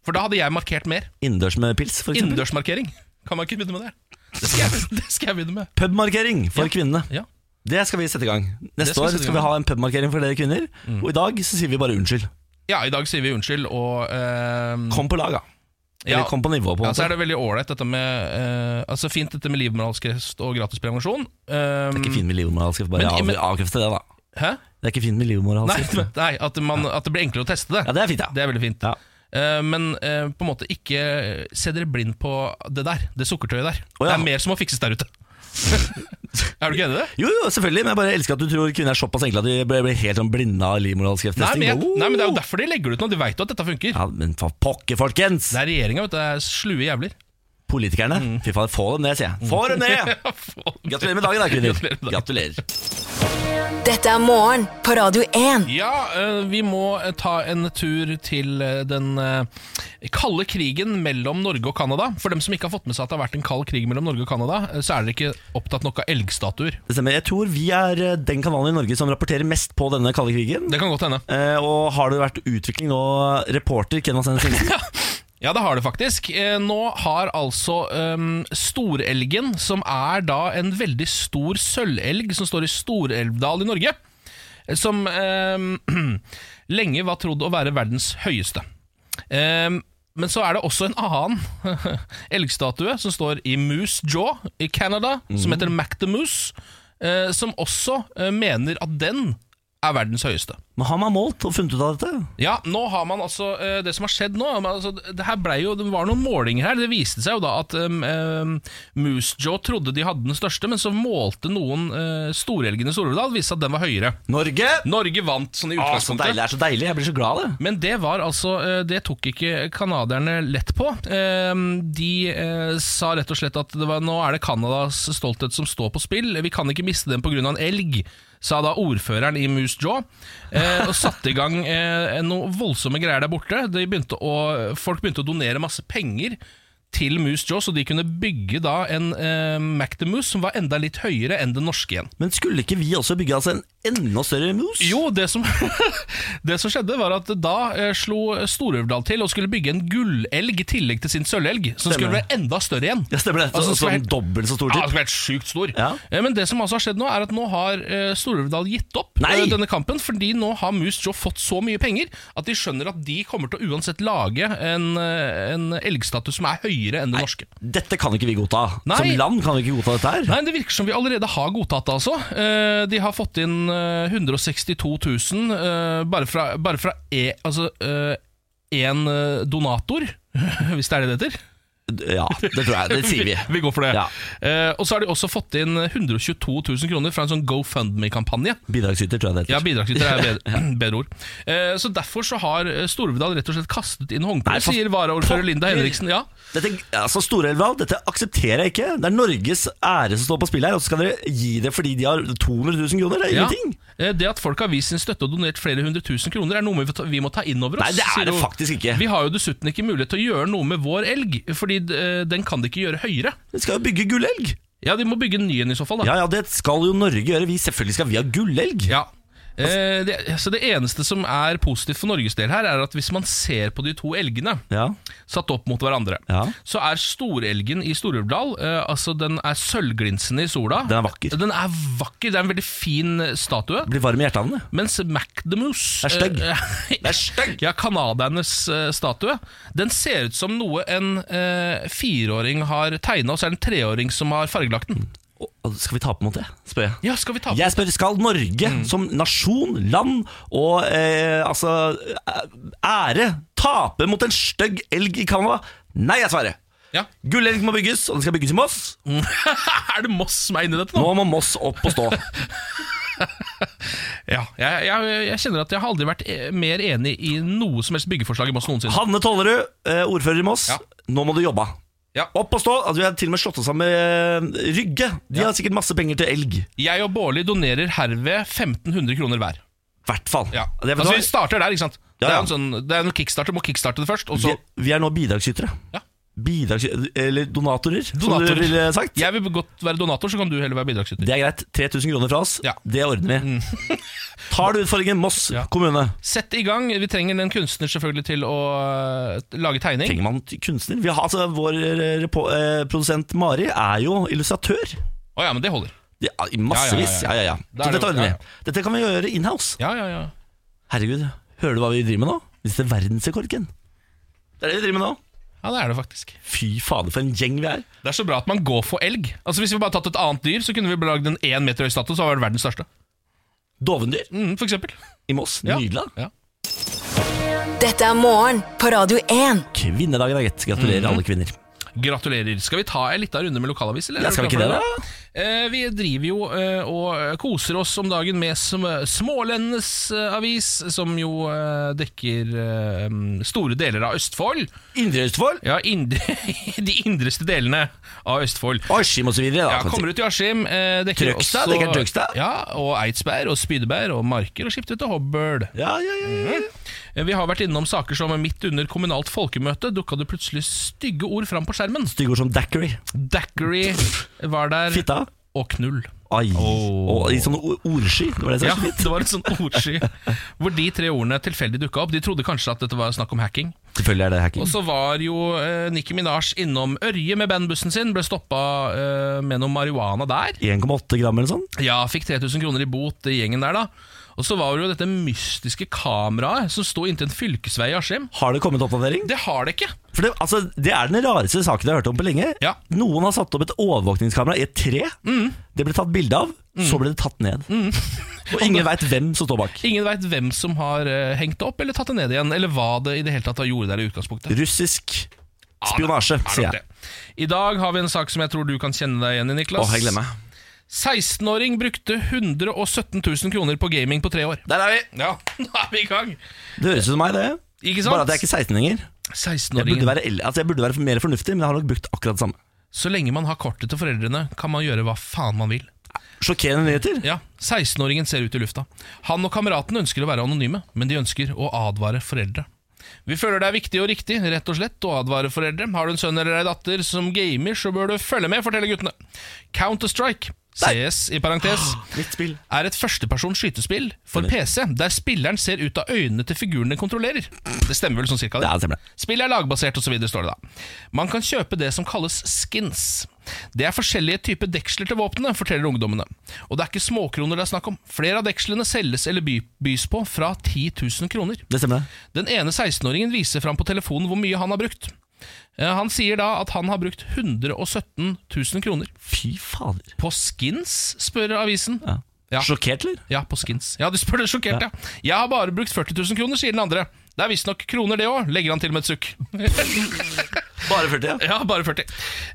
S1: For da hadde jeg markert mer.
S2: Innendørs med pils, for eksempel.
S1: Innendørsmarkering. Kan man ikke begynne med det? Det skal jeg, *laughs* det skal jeg begynne med.
S2: Pubmarkering for kvinnene.
S1: Ja.
S2: Det skal vi sette i gang. Neste
S1: skal vi
S2: år
S1: sette i
S2: skal vi
S1: gang. Mm.
S2: ha en pubmarkering for dere kvinner. Og i dag så sier vi bare unnskyld.
S1: ja, i dag sier vi unnskyld, og eh,
S2: Kom på lag, da. Eller
S1: ja.
S2: kom på nivå, på en
S1: Ja, så
S2: måte.
S1: er det veldig ålreit dette med eh, Altså fint dette med livmorhalskreft og gratis prevensjon. Eh,
S2: Det er ikke fint med livmorhalskreft. Bare
S1: Men-
S2: av-
S1: men-
S2: avkrefte det, da.
S1: Hæ?
S2: Det er ikke fint med
S1: Nei, *laughs*
S2: livmorhalskreft.
S1: nei at, man, at det blir enklere å teste det.
S2: Ja, det er fint, ja.
S1: Det er veldig fint.
S2: Ja.
S1: Eh, men eh, på en måte ikke se dere blind på det der. Det sukkertøyet der.
S2: Å, ja.
S1: Det er mer som må fikses der ute. *laughs* Er du ikke enig i det?
S2: Jo, jo, selvfølgelig, men jeg bare elsker at du tror kvinner er såpass enkle at de blir blir helt sånn blinde av livmorhalskreftesting.
S1: Nei men, jeg, nei, men Det er jo derfor de legger det ut nå. De veit jo at dette funker.
S2: Ja, men for pokker, folkens!
S1: Det er regjeringa, vet du. Det er slue jævler.
S2: Politikerne.
S1: Mm.
S2: Fy faen, få dem ned, sier jeg. Få dem
S1: *laughs*
S2: ned! Gratulerer med dagen,
S1: Gratulerer
S2: da,
S1: med
S2: kvinner.
S1: dagen.
S2: Gratulerer.
S4: Dette er morgen på Radio 1.
S1: Ja, eh, vi må eh, ta en tur til eh, den eh, kalde krigen mellom Norge og Canada. For dem som ikke har fått med seg at det har vært en kald krig mellom Norge og Canada, eh, så er dere ikke opptatt nok av elgstatuer.
S2: Det stemmer. Jeg tror vi er eh, den kanalen i Norge som rapporterer mest på denne kalde krigen.
S1: Det kan godt hende.
S2: Eh, og har det vært utvikling nå, reporter Kenvas Henningsen?
S1: *laughs* Ja, det har det faktisk. Eh, Nå har altså ehm, storelgen, som er da en veldig stor sølvelg som står i Storelvdal i Norge, eh, som ehm, *clears throat* lenge var trodd å være verdens høyeste. Ehm, men så er det også en annen *laughs* elgstatue som står i Moose Jaw i Canada, som heter Mac the Moose, eh, som også eh, mener at den er verdens høyeste.
S2: Men har man målt og funnet ut av dette?
S1: Ja, nå har man altså eh, Det som har skjedd nå men altså, det, her ble jo, det var noen målinger her. Det viste seg jo da at um, um, Moose Jaw trodde de hadde den største, men så målte noen uh, storelgen i Solvedal og viste at den var høyere.
S2: Norge!
S1: Norge vant sånn i
S2: Å, Ah, så
S1: utgangspunktet.
S2: deilig, det er så deilig. Jeg blir så glad av det.
S1: men det var altså eh, Det tok ikke canadierne lett på. Ehm, De eh, sa rett og slett at det var, nå er det Canadas stolthet som står på spill. Vi kan ikke miste den pga. en elg, sa da ordføreren i Moose Jaw. eh, Og satte i gang eh, noe voldsomme greier der borte. De begynte å, folk begynte å donere masse penger til Moose Jaw, så de kunne bygge da en eh, Mac the Moose som var enda litt høyere enn den norske igjen.
S2: Men skulle ikke vi også bygge altså, en enda større mus?
S1: Jo, det som, *laughs* det som skjedde var at da eh, slo Storøvdal til og skulle bygge en gullelg i tillegg til sin sølvelg, som
S2: Stemmer.
S1: skulle være enda større igjen.
S2: Ja, stemmer det. Så,
S1: Altså,
S2: altså,
S1: skal jeg-
S2: sånn dobbelt så stor
S1: Ja, den
S2: typ.
S1: skulle vært sykt stor.
S2: Ja.
S1: Eh, Men det som altså har skjedd nå, er at nå har eh, Storøvdal gitt opp
S2: Nei!
S1: eh, denne kampen, fordi nå har Moose Jaw fått så mye penger at de skjønner at de kommer til å uansett lage en, eh, en elgstatus som er høyere enn den norske.
S2: Dette kan ikke vi godta.
S1: Nei.
S2: Som land kan vi ikke godta dette her.
S1: Nei, Det virker som vi allerede har godtatt det. altså. Eh, De har fått inn eh, 162 000 eh, bare fra, bare fra e, altså, eh, en eh, donator, *laughs* hvis det er det det heter.
S2: Ja, det tror jeg. Det sier vi.
S1: Vi går for det.
S2: Ja.
S1: Eh, Og så har de også fått inn 122 000 kroner fra en sånn GoFundMe-kampanje.
S2: Bidragsyter, tror jeg det heter.
S1: Ja, bidragsyter *laughs* er bedre, bedre ord. Eh, Så derfor så har eh, Storvedal rett og slett kastet inn
S2: Nei,
S1: håndkleet,
S2: for-
S1: sier varaordfører Linda
S2: Pokker!
S1: Henriksen. Ja.
S2: Dette, altså Storelva, dette aksepterer jeg ikke. Det er Norges ære som står på spill her, og så skal dere gi det fordi de har 200 000 kroner. Det er
S1: Ja.
S2: ingenting.
S1: Eh, Det at folk har vist sin støtte og donert flere hundre tusen kroner, er noe vi må ta- vi må ta inn over oss.
S2: Nei, det
S1: sier
S2: er det
S1: hun.
S2: faktisk ikke.
S1: Vi har jo dessuten ikke mulighet til å gjøre noe med vår elg, fordi eh, den kan de ikke gjøre høyere.
S2: Vi skal jo bygge gullelg.
S1: Ja, de må bygge en ny en i så fall, da.
S2: Ja, ja, det skal jo Norge gjøre. Vi, selvfølgelig skal vi ha gullelg.
S1: Ja. Eh, det, så det eneste som er positivt for Norges del her, er at hvis man ser på de to elgene
S2: Ja.
S1: satt opp mot hverandre,
S2: Ja.
S1: så er storelgen i Storulvdal eh, Altså, den er sølvglinsende i sola.
S2: Den er vakker.
S1: Den er vakker, det er en veldig fin eh, statue.
S2: Blir varm i hjertene. det.
S1: Mens Mac the Moose
S2: Er stygg.
S1: eh,
S2: Det er stygg.
S1: *laughs* Ja, Canadiernes eh, statue. Den ser ut som noe en eh, fireåring har tegna, og så er det en treåring som har fargelagt den.
S2: Å, Skal vi tape mot det, spør jeg.
S1: Ja, Mm. skal vi ta på
S2: Jeg spør, skal Norge som nasjon, land og eh, altså ære tape mot en stygg elg i Canada? Nei, jeg svarer.
S1: Ja. *laughs*
S2: Gullelg må bygges, og den skal bygges i Moss.
S1: Er det Moss som er inni dette nå?
S2: Nå må Moss opp og stå.
S1: Ja, jeg, jeg, jeg kjenner at jeg har aldri vært eh, mer enig i noe som helst byggeforslag i Moss noensinne.
S2: *laughs* Hanne Tollerud, eh, ordfører i Moss.
S1: Ja.
S2: Nå må du jobbe.
S1: Ja.
S2: Opp og stå. Altså, vi har til og med slått oss sammen med eh, Rygge. De har sikkert masse penger til elg.
S1: Jeg og Bårli donerer herved 1500 kroner hver.
S2: I hvert fall.
S1: Ja.
S2: Det, vet du
S1: Altså,
S2: hva?
S1: vi starter der, ikke sant?
S2: Ja,
S1: Det
S2: ja.
S1: er en sånn, det er en kickstarter, må kickstarte det først, og så
S2: vi, vi er nå bidragsytere.
S1: Ja.
S2: Bidragsy- eller donatorer,
S1: Donatorer.
S2: som du ville sagt.
S1: Jeg vil godt være donator, så kan du heller være bidragsyter.
S2: Det er greit. 3000 kroner fra oss,
S1: Ja. Mm.
S2: det ordner vi. *laughs* Tar du utfordringen Moss
S1: Ja.
S2: kommune?
S1: Sett i gang. Vi trenger en kunstner selvfølgelig til å øh, lage tegning.
S2: Trenger man t- kunstner? Vi har, altså, vår eh, repo, eh, produsent Mari er jo illustratør.
S1: Å ja, men det holder.
S2: Ja, I massevis.
S1: Ja,
S2: Ja, ja, ja.
S1: Da er det
S2: Så dette
S1: jo-
S2: ordner
S1: ja,
S2: vi. Dette kan vi gjøre inhouse.
S1: Ja, ja, ja.
S2: Herregud, hører du hva vi driver med nå? Vi setter verdensrekord, Ken. Det er det vi driver med nå.
S1: Ja, det er det faktisk.
S2: Fy fader, for en gjeng vi er.
S1: Det er så bra at man går for elg. Altså Hvis vi bare tatt et annet dyr, så kunne vi lagd en én meter høy statue, så hadde vi vært verdens største.
S2: Dovendyr
S1: Mm, for eksempel.
S2: i Moss.
S1: Ja.
S2: Nydelig. da.
S1: Ja.
S4: Dette er morgen på Radio 1.
S1: Mhm.
S2: Kvinnedagen er gitt. Gratulerer, alle kvinner.
S1: Gratulerer. Skal vi ta en liten runde med lokalavis? Eller?
S2: Ja, skal vi ikke det, da?
S1: Eh, Vi driver jo eh, og koser oss om dagen med sm- Smålendenes eh, avis, som jo eh, dekker eh, store deler av Østfold.
S2: Indre Østfold?
S1: Ja, indre, *laughs* de indreste delene av Østfold.
S2: Askim og så videre. Da,
S1: Ja,
S2: kan man
S1: kommer
S2: si.
S1: ut i Askim. eh, dekker
S2: Trøgstad,
S1: også-
S2: dekker Trøgstad.
S1: Ja, og Eidsberg og Spydeberg og Marker og Skiptvet og Hobøl.
S2: Ja, ja, ja, ja, ja.
S1: Eh, Vi har vært innom saker som midt under kommunalt folkemøte dukka det plutselig stygge ord fram på skjermen.
S2: Styggord som daiquiri.
S1: Dackery var der,
S2: Fitta.
S1: og knull.
S2: Ai.
S1: Åh.
S2: Og i sånn o- ordsky. Det var det som
S1: Ja,
S2: var så fint.
S1: det var en sånn ordsky hvor de tre ordene tilfeldig dukka opp. De trodde kanskje at dette var snakk om hacking.
S2: Selvfølgelig er det
S1: Og
S2: hacking.
S1: så var jo eh, Nikki Minaj innom Ørje med bandbussen sin. Ble stoppa eh, med noe marihuana der.
S2: 1,8 gram eller sånn.
S1: Ja, fikk 3000 kroner i bot i gjengen der, da. Og så var det jo dette mystiske kameraet som sto inntil en fylkesvei i Askim.
S2: Har det kommet oppdatering?
S1: Det har det ikke.
S2: For det, altså, det er den rareste saken jeg har hørt om på lenge.
S1: Ja. Mm.
S2: Noen har satt opp et overvåkningskamera i et tre. Det ble tatt bilde av, så ble det tatt ned. Og ingen veit hvem som står bak.
S1: Ingen veit hvem som har eh, hengt det opp eller tatt det ned igjen, eller hva det i det hele tatt var gjorde der i utgangspunktet.
S2: Russisk spionasje,
S1: Det er
S2: sier
S1: nok
S2: jeg.
S1: det. I dag har vi en sak som jeg tror du kan kjenne deg igjen i, Niklas.
S2: Åh, jeg glemmer meg.
S1: 16-åring brukte 117 000 kroner på gaming på tre år.
S2: Der er vi!
S1: Ja, *laughs* nå er vi i gang!
S2: Det høres ut som meg, det.
S1: Ikke sant?
S2: Bare at jeg er ikke 16 lenger. Jeg burde,
S1: 16-åringen.
S2: være, el- altså, jeg burde være mer fornuftig, men jeg har nok brukt akkurat det samme.
S1: Så lenge man har kortet til foreldrene, kan man gjøre hva faen man vil.
S2: Sjokkerende nyheter.
S1: Ja, 16-åringen ser ut i lufta. Han og kameraten ønsker å være anonyme, men de ønsker å advare foreldre. Vi føler det er viktig og riktig rett og slett, å advare foreldre. Har du en sønn eller ei datter som gamer, så bør du følge med, forteller guttene. Counter-Strike, CS i parentes,
S2: Litt spill.
S1: er et førstepersons skytespill for PC, der spilleren ser ut av øynene til figuren den kontrollerer. Det stemmer vel sånn cirka?
S2: Ja, det stemmer det.
S1: Spillet er lagbasert osv., står det da. Man kan kjøpe det som kalles skins. Det er forskjellige typer deksler til våpnene, forteller ungdommene. Og det er ikke småkroner det er snakk om. Flere av dekslene selges eller by bys på fra 10 000 kroner.
S2: Det stemmer det.
S1: Den ene 16-åringen viser fram på telefonen hvor mye han har brukt. Eh, Han sier da at han har brukt 117 000 kroner.
S2: Fy fader.
S1: På skins, spør avisen.
S2: Ja.
S1: Ja.
S2: Sjokkert, eller?
S1: Ja, på skins. Ja, du spør det sjokkert, ja. Jeg har bare brukt 40 000 kroner, sier den andre. Det er visstnok kroner, det òg, legger han til med et sukk.
S2: Bare 40, ja.
S1: *laughs* Ja, bare 40.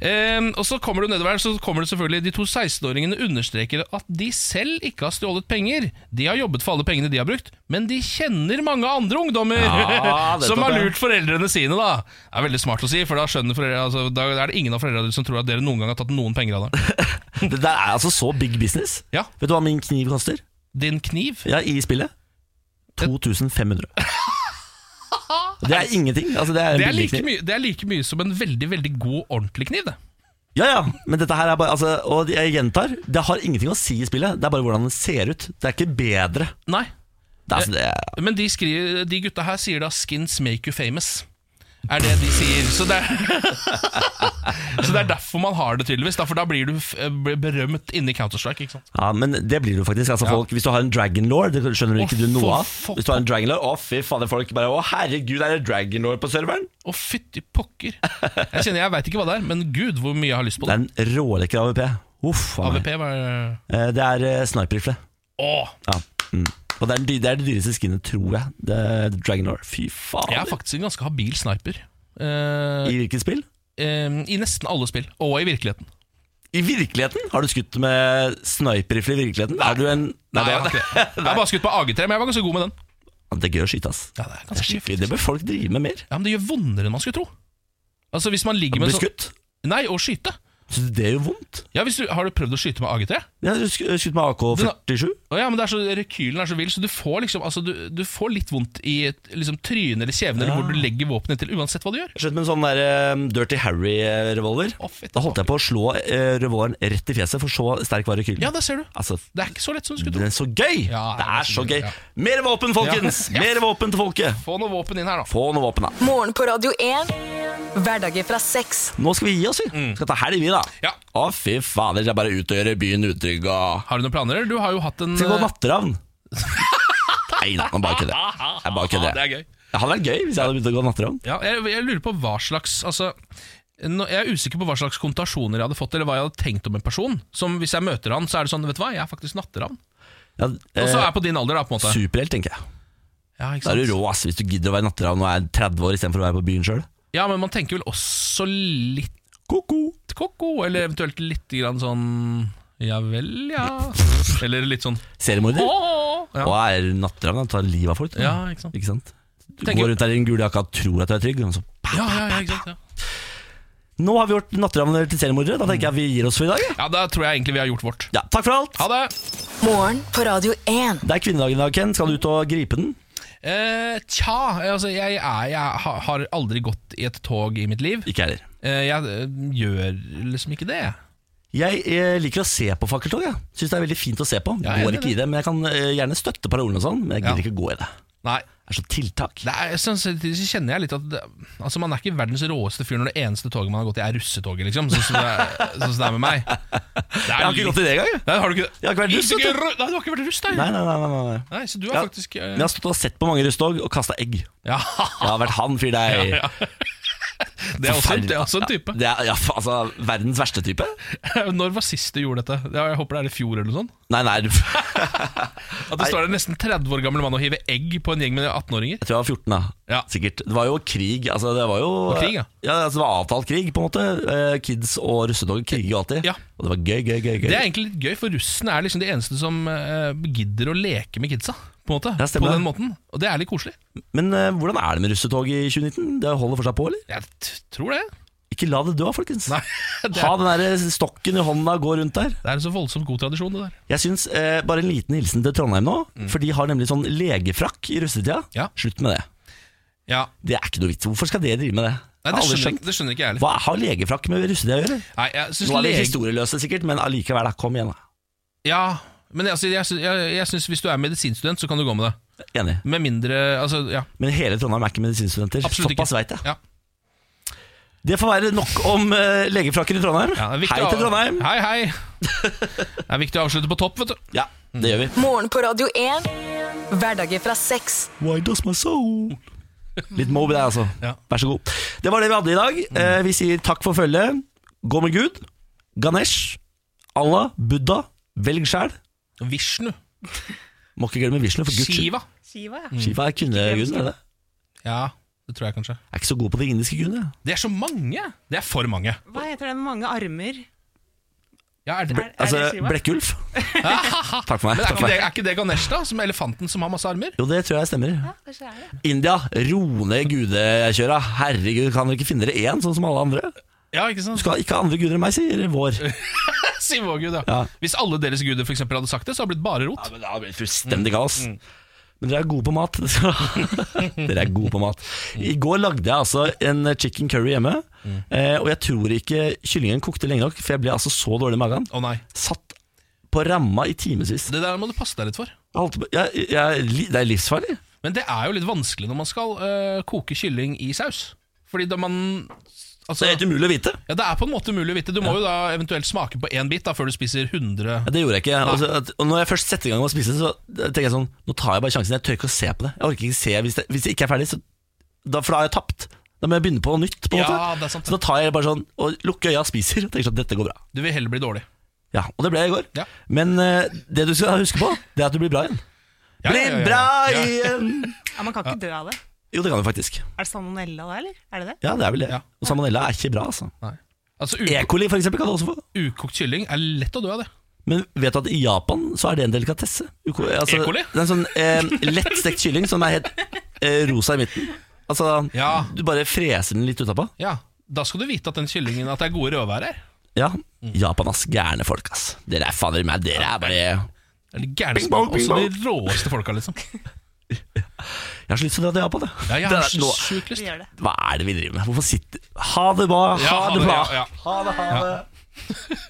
S1: Ehm, og så kommer du nedover her, så kommer det selvfølgelig De to 16-åringene understreker at de selv ikke har stjålet penger. De har jobbet for alle pengene de har brukt, men de kjenner mange andre ungdommer *laughs*
S2: Ja,
S1: som har
S2: nettopp det.
S1: lurt foreldrene sine, da. Det er veldig smart å si, for da skjønner foreldre altså, Da er det ingen av foreldrene som tror at dere noen gang har tatt noen penger av dem.
S2: Det der er altså så big business.
S1: Ja.
S2: Vet du hva min kniv koster?
S1: Din kniv?
S2: Ja, i spillet 2500
S1: *laughs*
S2: Det er ingenting altså, det, er en
S1: Det er,
S2: billig
S1: like
S2: kniv.
S1: mye, det er like mye som en veldig, veldig god, ordentlig kniv, det.
S2: Ja, ja, men dette her er bare altså, Og jeg gjentar, det har ingenting å si i spillet Det er bare hvordan det ser ut Det er ikke bedre
S1: Nei,
S2: det er, altså, det er,
S1: men de, skriver, de gutta her sier da 'skins make you famous'. Er det de sier. Så det er, *laughs* så det er derfor man har det, tydeligvis. Da, for da blir du f- eh, blir berømt inni Counter-Strike. ikke sant?
S2: ja, men det blir du faktisk altså,
S1: Ja.
S2: folk, Hvis du har en Dragon Lord Det skjønner du
S1: Å,
S2: ikke du noe av
S1: for fuck.
S2: Hvis du har en Dragon Lord Å fy faen, det er folk bare Å herregud, er det Dragon Lord på serveren?
S1: Å, fytti pokker. Jeg kjenner, jeg veit ikke hva det er, men gud hvor mye jeg har lyst på
S2: Det
S1: det.
S2: er en rålekker AVP Uff, faen meg.
S1: AVP var
S2: Eh, Det er eh, sniperrifle
S1: Å!
S2: ja. mm. Og det er, den dy- det er det dyreste skinnet, tror jeg Det er Dragon Lord Fy faen
S1: Jeg er faktisk en ganske habil sniper. Eh,
S2: I hvilket spill?
S1: eh, I nesten alle spill, og i virkeligheten.
S2: I virkeligheten? Har du skutt med sniperrifle i virkeligheten? Nei. Er du en
S1: Nei,
S2: det,
S1: jeg, har
S2: det,
S1: ikke det. jeg har bare skutt på AG3, men jeg var ganske god med den.
S2: det er gøy å skyte, ass.
S1: Ja, det er
S2: Det, er
S1: ganske
S2: skikkelig, det bør folk drive med mer.
S1: Ja, men det gjør vondere enn man skulle tro. Altså, hvis man ligger med
S2: Bli
S1: en sånn
S2: skutt.
S1: Nei, å skyte.
S2: Så det gjør vondt.
S1: Ja, hvis du, Har du prøvd å skyte med AG3?
S2: Jeg har sk- skutt med AK-47.
S1: Å ja, men det er så, Rekylen er så vill, så du får, liksom, altså, du, du får litt vondt i et, liksom, trynet eller kjeven eller
S2: Ja.
S1: hvor du legger våpenet til, uansett hva du gjør.
S2: Jeg skjøt med en sånn der, eh, Dirty Harry-revolver.
S1: Å, fett.
S2: Da holdt jeg på å slå eh, revolveren rett i fjeset, for så sterk var rekylen.
S1: Ja, der ser du.
S2: Altså,
S1: Det er ikke så lett som du skulle tro.
S2: den er så gøy!
S1: Ja,
S2: det er så gøy.
S1: ja.
S2: Mer våpen, folkens! *laughs*
S1: Ja.
S2: Mer våpen til folket.
S1: Få noe våpen inn her, da.
S2: Få noe våpen, da.
S4: Morgen på Radio 1. Hverdager fra seks.
S2: Nå skal vi gi oss, vi. Skal ta helg, vi, da.
S1: Ja.
S2: Å, fy fader. Det er bare ut og gjøre byen utrygg og
S1: Har du noen planer? eller? Du har jo hatt en
S2: Skal vi gå
S1: eh,
S2: natteravn? *laughs* Nei da, nå bare ikke det. Jeg bare ikke det.
S1: eh, Det er gøy.
S2: Det hadde vært gøy hvis jeg hadde begynt å gå natteravn.
S1: Ja, jeg, jeg lurer på hva slags altså, nå- Jeg er usikker på hva slags konnotasjoner jeg hadde fått, eller hva jeg hadde tenkt om en person. Som Hvis jeg møter han, så er det sånn Vet du hva, jeg er faktisk natteravn.
S2: Ja,
S1: Og så er
S2: eh,
S1: jeg på din alder, da, på en måte.
S2: Superhelt, tenker jeg.
S1: Ja, ikke
S2: Da er
S1: sant?
S2: du rå ass, hvis du gidder å være natteravn og er 30 år istedenfor å være på byen sjøl.
S1: Ja, men man tenker vel også litt
S2: Ko-ko.
S1: ko-ko, eller eventuelt litt grann sånn Ja vel, ja. Eller litt sånn
S2: Seriemorder?
S1: Åh! Ja.
S2: Og er natteravn, han tar livet av folk. da.
S1: Ja, ikke sant.
S2: Du
S1: Tenker-
S2: går rundt der i den gule jakka og tror at du er trygg. Og så.
S1: Ja, ja, ja, ikke sant, ja.
S2: Nå har vi gjort natteravner til seriemordere. Da tenker jeg vi gir oss for i dag. jeg.
S1: ja, da tror jeg egentlig vi har gjort vårt.
S2: Ja, takk for alt.
S1: Ha det!
S4: Morgen på Radio 1.
S2: Det er kvinnedagen i dag, Ken. Skal du ut og gripe den?
S1: Eh, tja, altså jeg, er, jeg ha- har aldri gått i et tog i mitt liv.
S2: Ikke jeg heller.
S1: Eh, jeg eh, gjør liksom ikke det.
S2: Jeg eh, liker å se på fakkeltog. Jeg Syns det er veldig fint å se på.
S1: Ja, jeg er
S2: går
S1: enig i
S2: ikke i det, men jeg kan eh, gjerne støtte parolene og sånn, men jeg gidder
S1: Ja.
S2: ikke gå i det.
S1: Nei.
S2: Det er så tiltak.
S1: Det er, sånn sett så kjenner jeg litt at det, Altså Man er ikke verdens råeste fyr når det eneste toget man har gått i, er russetoget, liksom. Sånn som det er, sånn som det er med meg. Det er
S2: Jeg har ikke
S1: litt-
S2: gått i det engang. jeg.
S1: Nei, har du ikke det?
S2: Jeg har ikke vært russ,
S1: Ikke
S2: vet du.
S1: ru- Nei, du har ikke vært russ, nei.
S2: Nei, nei, nei. nei, nei.
S1: Nei, så du
S2: Ja.
S1: har faktisk eh,
S2: Men jeg har stått og sett på mange russtog og kasta egg.
S1: Ja, *laughs*
S2: Det har vært han fyr deg.
S1: ja, ja. Det er også en, det er også en type.
S2: Det er, ja, fa- altså, verdens verste type?
S1: *laughs* Når var sist du gjorde dette? Ja, Jeg håper det er i fjor eller noe sånt.
S2: Nei, nei, *laughs* du- jeg
S1: At det står en nesten 30 år gammel mann og hiver egg på en gjeng med 18-åringer.
S2: tror jeg var 14 da,
S1: Ja.
S2: sikkert. Det var jo krig, altså det var jo
S1: var krig, ja.
S2: altså, det var avtalt krig på en måte. Eh, Kids og russetog kriger jo alltid.
S1: Ja.
S2: Og det var gøy, gøy, gøy. gøy.
S1: Det er egentlig litt gøy, for russen er liksom de eneste som eh, gidder å leke med kidsa. På, en måte,
S2: Ja,
S1: på
S2: stemmer
S1: den
S2: det.
S1: måten. Og det er litt koselig.
S2: Men eh, hvordan er det med russetog i 2019? Det holder fortsatt på, eller?
S1: Jeg t tror det. *laughs*
S2: Ikke la det dø, folkens.
S1: Nei, det,
S2: Ha
S1: er,
S2: den der stokken i hånda og gå rundt der.
S1: det er en så voldsomt god tradisjon, det der.
S2: Jeg syns eh, Bare en liten hilsen til Trondheim nå, for de har nemlig sånn legefrakk i russetida.
S1: Mm. Ja.
S2: Slutt med det.
S1: Ja.
S2: Det er ikke noe vits. Hvorfor skal dere drive med det?
S1: Nei,
S2: Jeg har
S1: det,
S2: aldri
S1: skjønner,
S2: skjønt.
S1: det skjønner ikke jeg heller.
S2: Hva har legefrakk med russetida å gjøre?
S1: Nei, jeg synes
S2: Nå er dere
S1: lege-
S2: historieløse sikkert, men allikevel, da. Kom igjen, da.
S1: Ja, men altså, jeg, sy- jeg, jeg syns hvis du er medisinstudent, så kan du gå med det.
S2: Enig.
S1: Med mindre Altså, ja.
S2: Men hele Trondheim er ikke medisinstudenter.
S1: Absolutt ikke.
S2: Såpass veit jeg.
S1: Ja.
S2: Det får være nok om eh, legefrakker i Trondheim.
S1: ja det er viktig
S2: Hei
S1: å-
S2: til Trondheim!
S1: Hei, hei. Det er viktig å avslutte på topp, vet du.
S2: Ja, det gjør vi.
S4: Morgen på Radio 1. Hverdager fra seks.
S2: Why does my soul Litt Moby der, altså.
S1: Ja.
S2: Vær så god. Det var det vi hadde i dag. Eh, vi sier takk for følget. Gå med Gud. Ganesh. Allah. Buddha. Velg sjæl.
S1: Vishnu.
S2: Må ikke glemme Vishnu, for guds skyld. Mm.
S1: Shiva.
S3: Shiva, ja.
S2: Shiva er kvinneguden, er det? det?
S1: Ja, det tror jeg kanskje.
S2: Jeg er ikke så god på de indiske gudene.
S1: Det er så mange! Det er for mange.
S3: Hva heter den med mange armer?
S1: Ja, er det,
S3: Er, er
S2: Altså,
S3: det
S1: *laughs*
S3: Shiva?
S2: Blekkulf. takk for
S1: men
S2: meg.
S1: er ikke,
S2: Takk for
S1: det, *laughs*
S2: meg.
S1: er ikke det Ganesh, da? Som elefanten som har masse armer?
S2: Jo, det tror jeg stemmer.
S3: Ja, kanskje er det.
S2: India, ro ned gudekjøra. Herregud, kan dere ikke finne dere én, sånn som alle andre?
S1: Ja, ikke sant? *laughs*
S2: Du skal ikke ha andre guder enn meg, sier vår.
S1: Si vår gud, ja.
S2: Ja.
S1: Hvis alle deres guder for eksempel, hadde sagt det, så hadde det blitt bare rot.
S2: Ja, men det har blitt fullstendig kaos. Men dere er gode på mat. *laughs* dere er gode på mat. I går lagde jeg altså en chicken curry hjemme, eh, og jeg tror ikke kyllingen kokte lenge nok, for jeg ble altså så dårlig i magen.
S1: Å nei.
S2: Satt på ramma i timevis.
S1: Det der må du passe deg litt for.
S2: Jeg holdt på- jeg- jeg- li- Det er livsfarlig.
S1: Men det er jo litt vanskelig når man skal øh, koke kylling i saus. Fordi da man altså,
S2: Det er helt umulig å vite.
S1: ja, Det er på en måte umulig å vite. Du må jo da eventuelt smake på én bit da, før du spiser 100
S2: Ja, det gjorde jeg ikke. Altså, at- og når jeg først setter i gang med å spise, så tenker jeg sånn Nå tar jeg bare sjansen. Jeg tør ikke å se på det. Jeg orker ikke se Hvis det, hvis det ikke er ferdig, så, da, for da har jeg tapt. Da må jeg begynne på nytt. På
S1: Ja,
S2: en måte.
S1: det er sant.
S2: Så da tar jeg bare sånn og lukker øya og spiser. Og tenker sånn, dette går bra.
S1: Du vil heller bli dårlig.
S2: Ja, Og det ble jeg i går.
S1: Ja.
S2: Men eh, det du skal huske på, det er at du blir bra igjen.
S1: Ja,
S2: Bli
S1: ja, ja, ja.
S2: bra
S1: Ja.
S2: igjen!
S3: Ja, man kan ikke dø av det.
S2: Jo, det kan du faktisk.
S3: Er det salmonella da, eller? Er det det?
S2: Ja, det er vel det.
S1: Ja.
S2: Og salmonella er ikke bra, altså.
S1: Nei. Altså,
S2: E.
S1: u
S2: coli for eksempel kan du også få.
S1: ukokt kylling er lett å dø av det.
S2: Men vet du at i Japan så er det en delikatesse? Uko- altså,
S1: E. coli?
S2: Det er en sånn eh, lettstekt kylling som er helt eh, rosa i midten. Altså,
S1: Ja.
S2: du bare freser den litt utapå.
S1: Ja, Da skal du vite at den kyllingen At det er gode rødværer her.
S2: Ja,
S1: Mm.
S2: Japan, ass. Gærne folk, ass. Dere er fader meg, dere er bare
S1: Det er de gærneste,
S2: Bing bong, bing
S1: også de råeste folka, liksom.
S2: Jeg har så lyst til å dra til Japan, jeg.
S1: Ja, jeg har
S2: Det er- nå,
S1: sjukt lyst.
S3: Vi gjør det.
S2: hva er det vi driver med? Hvorfor sitter Ha det bra! Ha
S1: Ja,
S2: det bra!
S1: ja, ja.
S2: Ha det, ha det.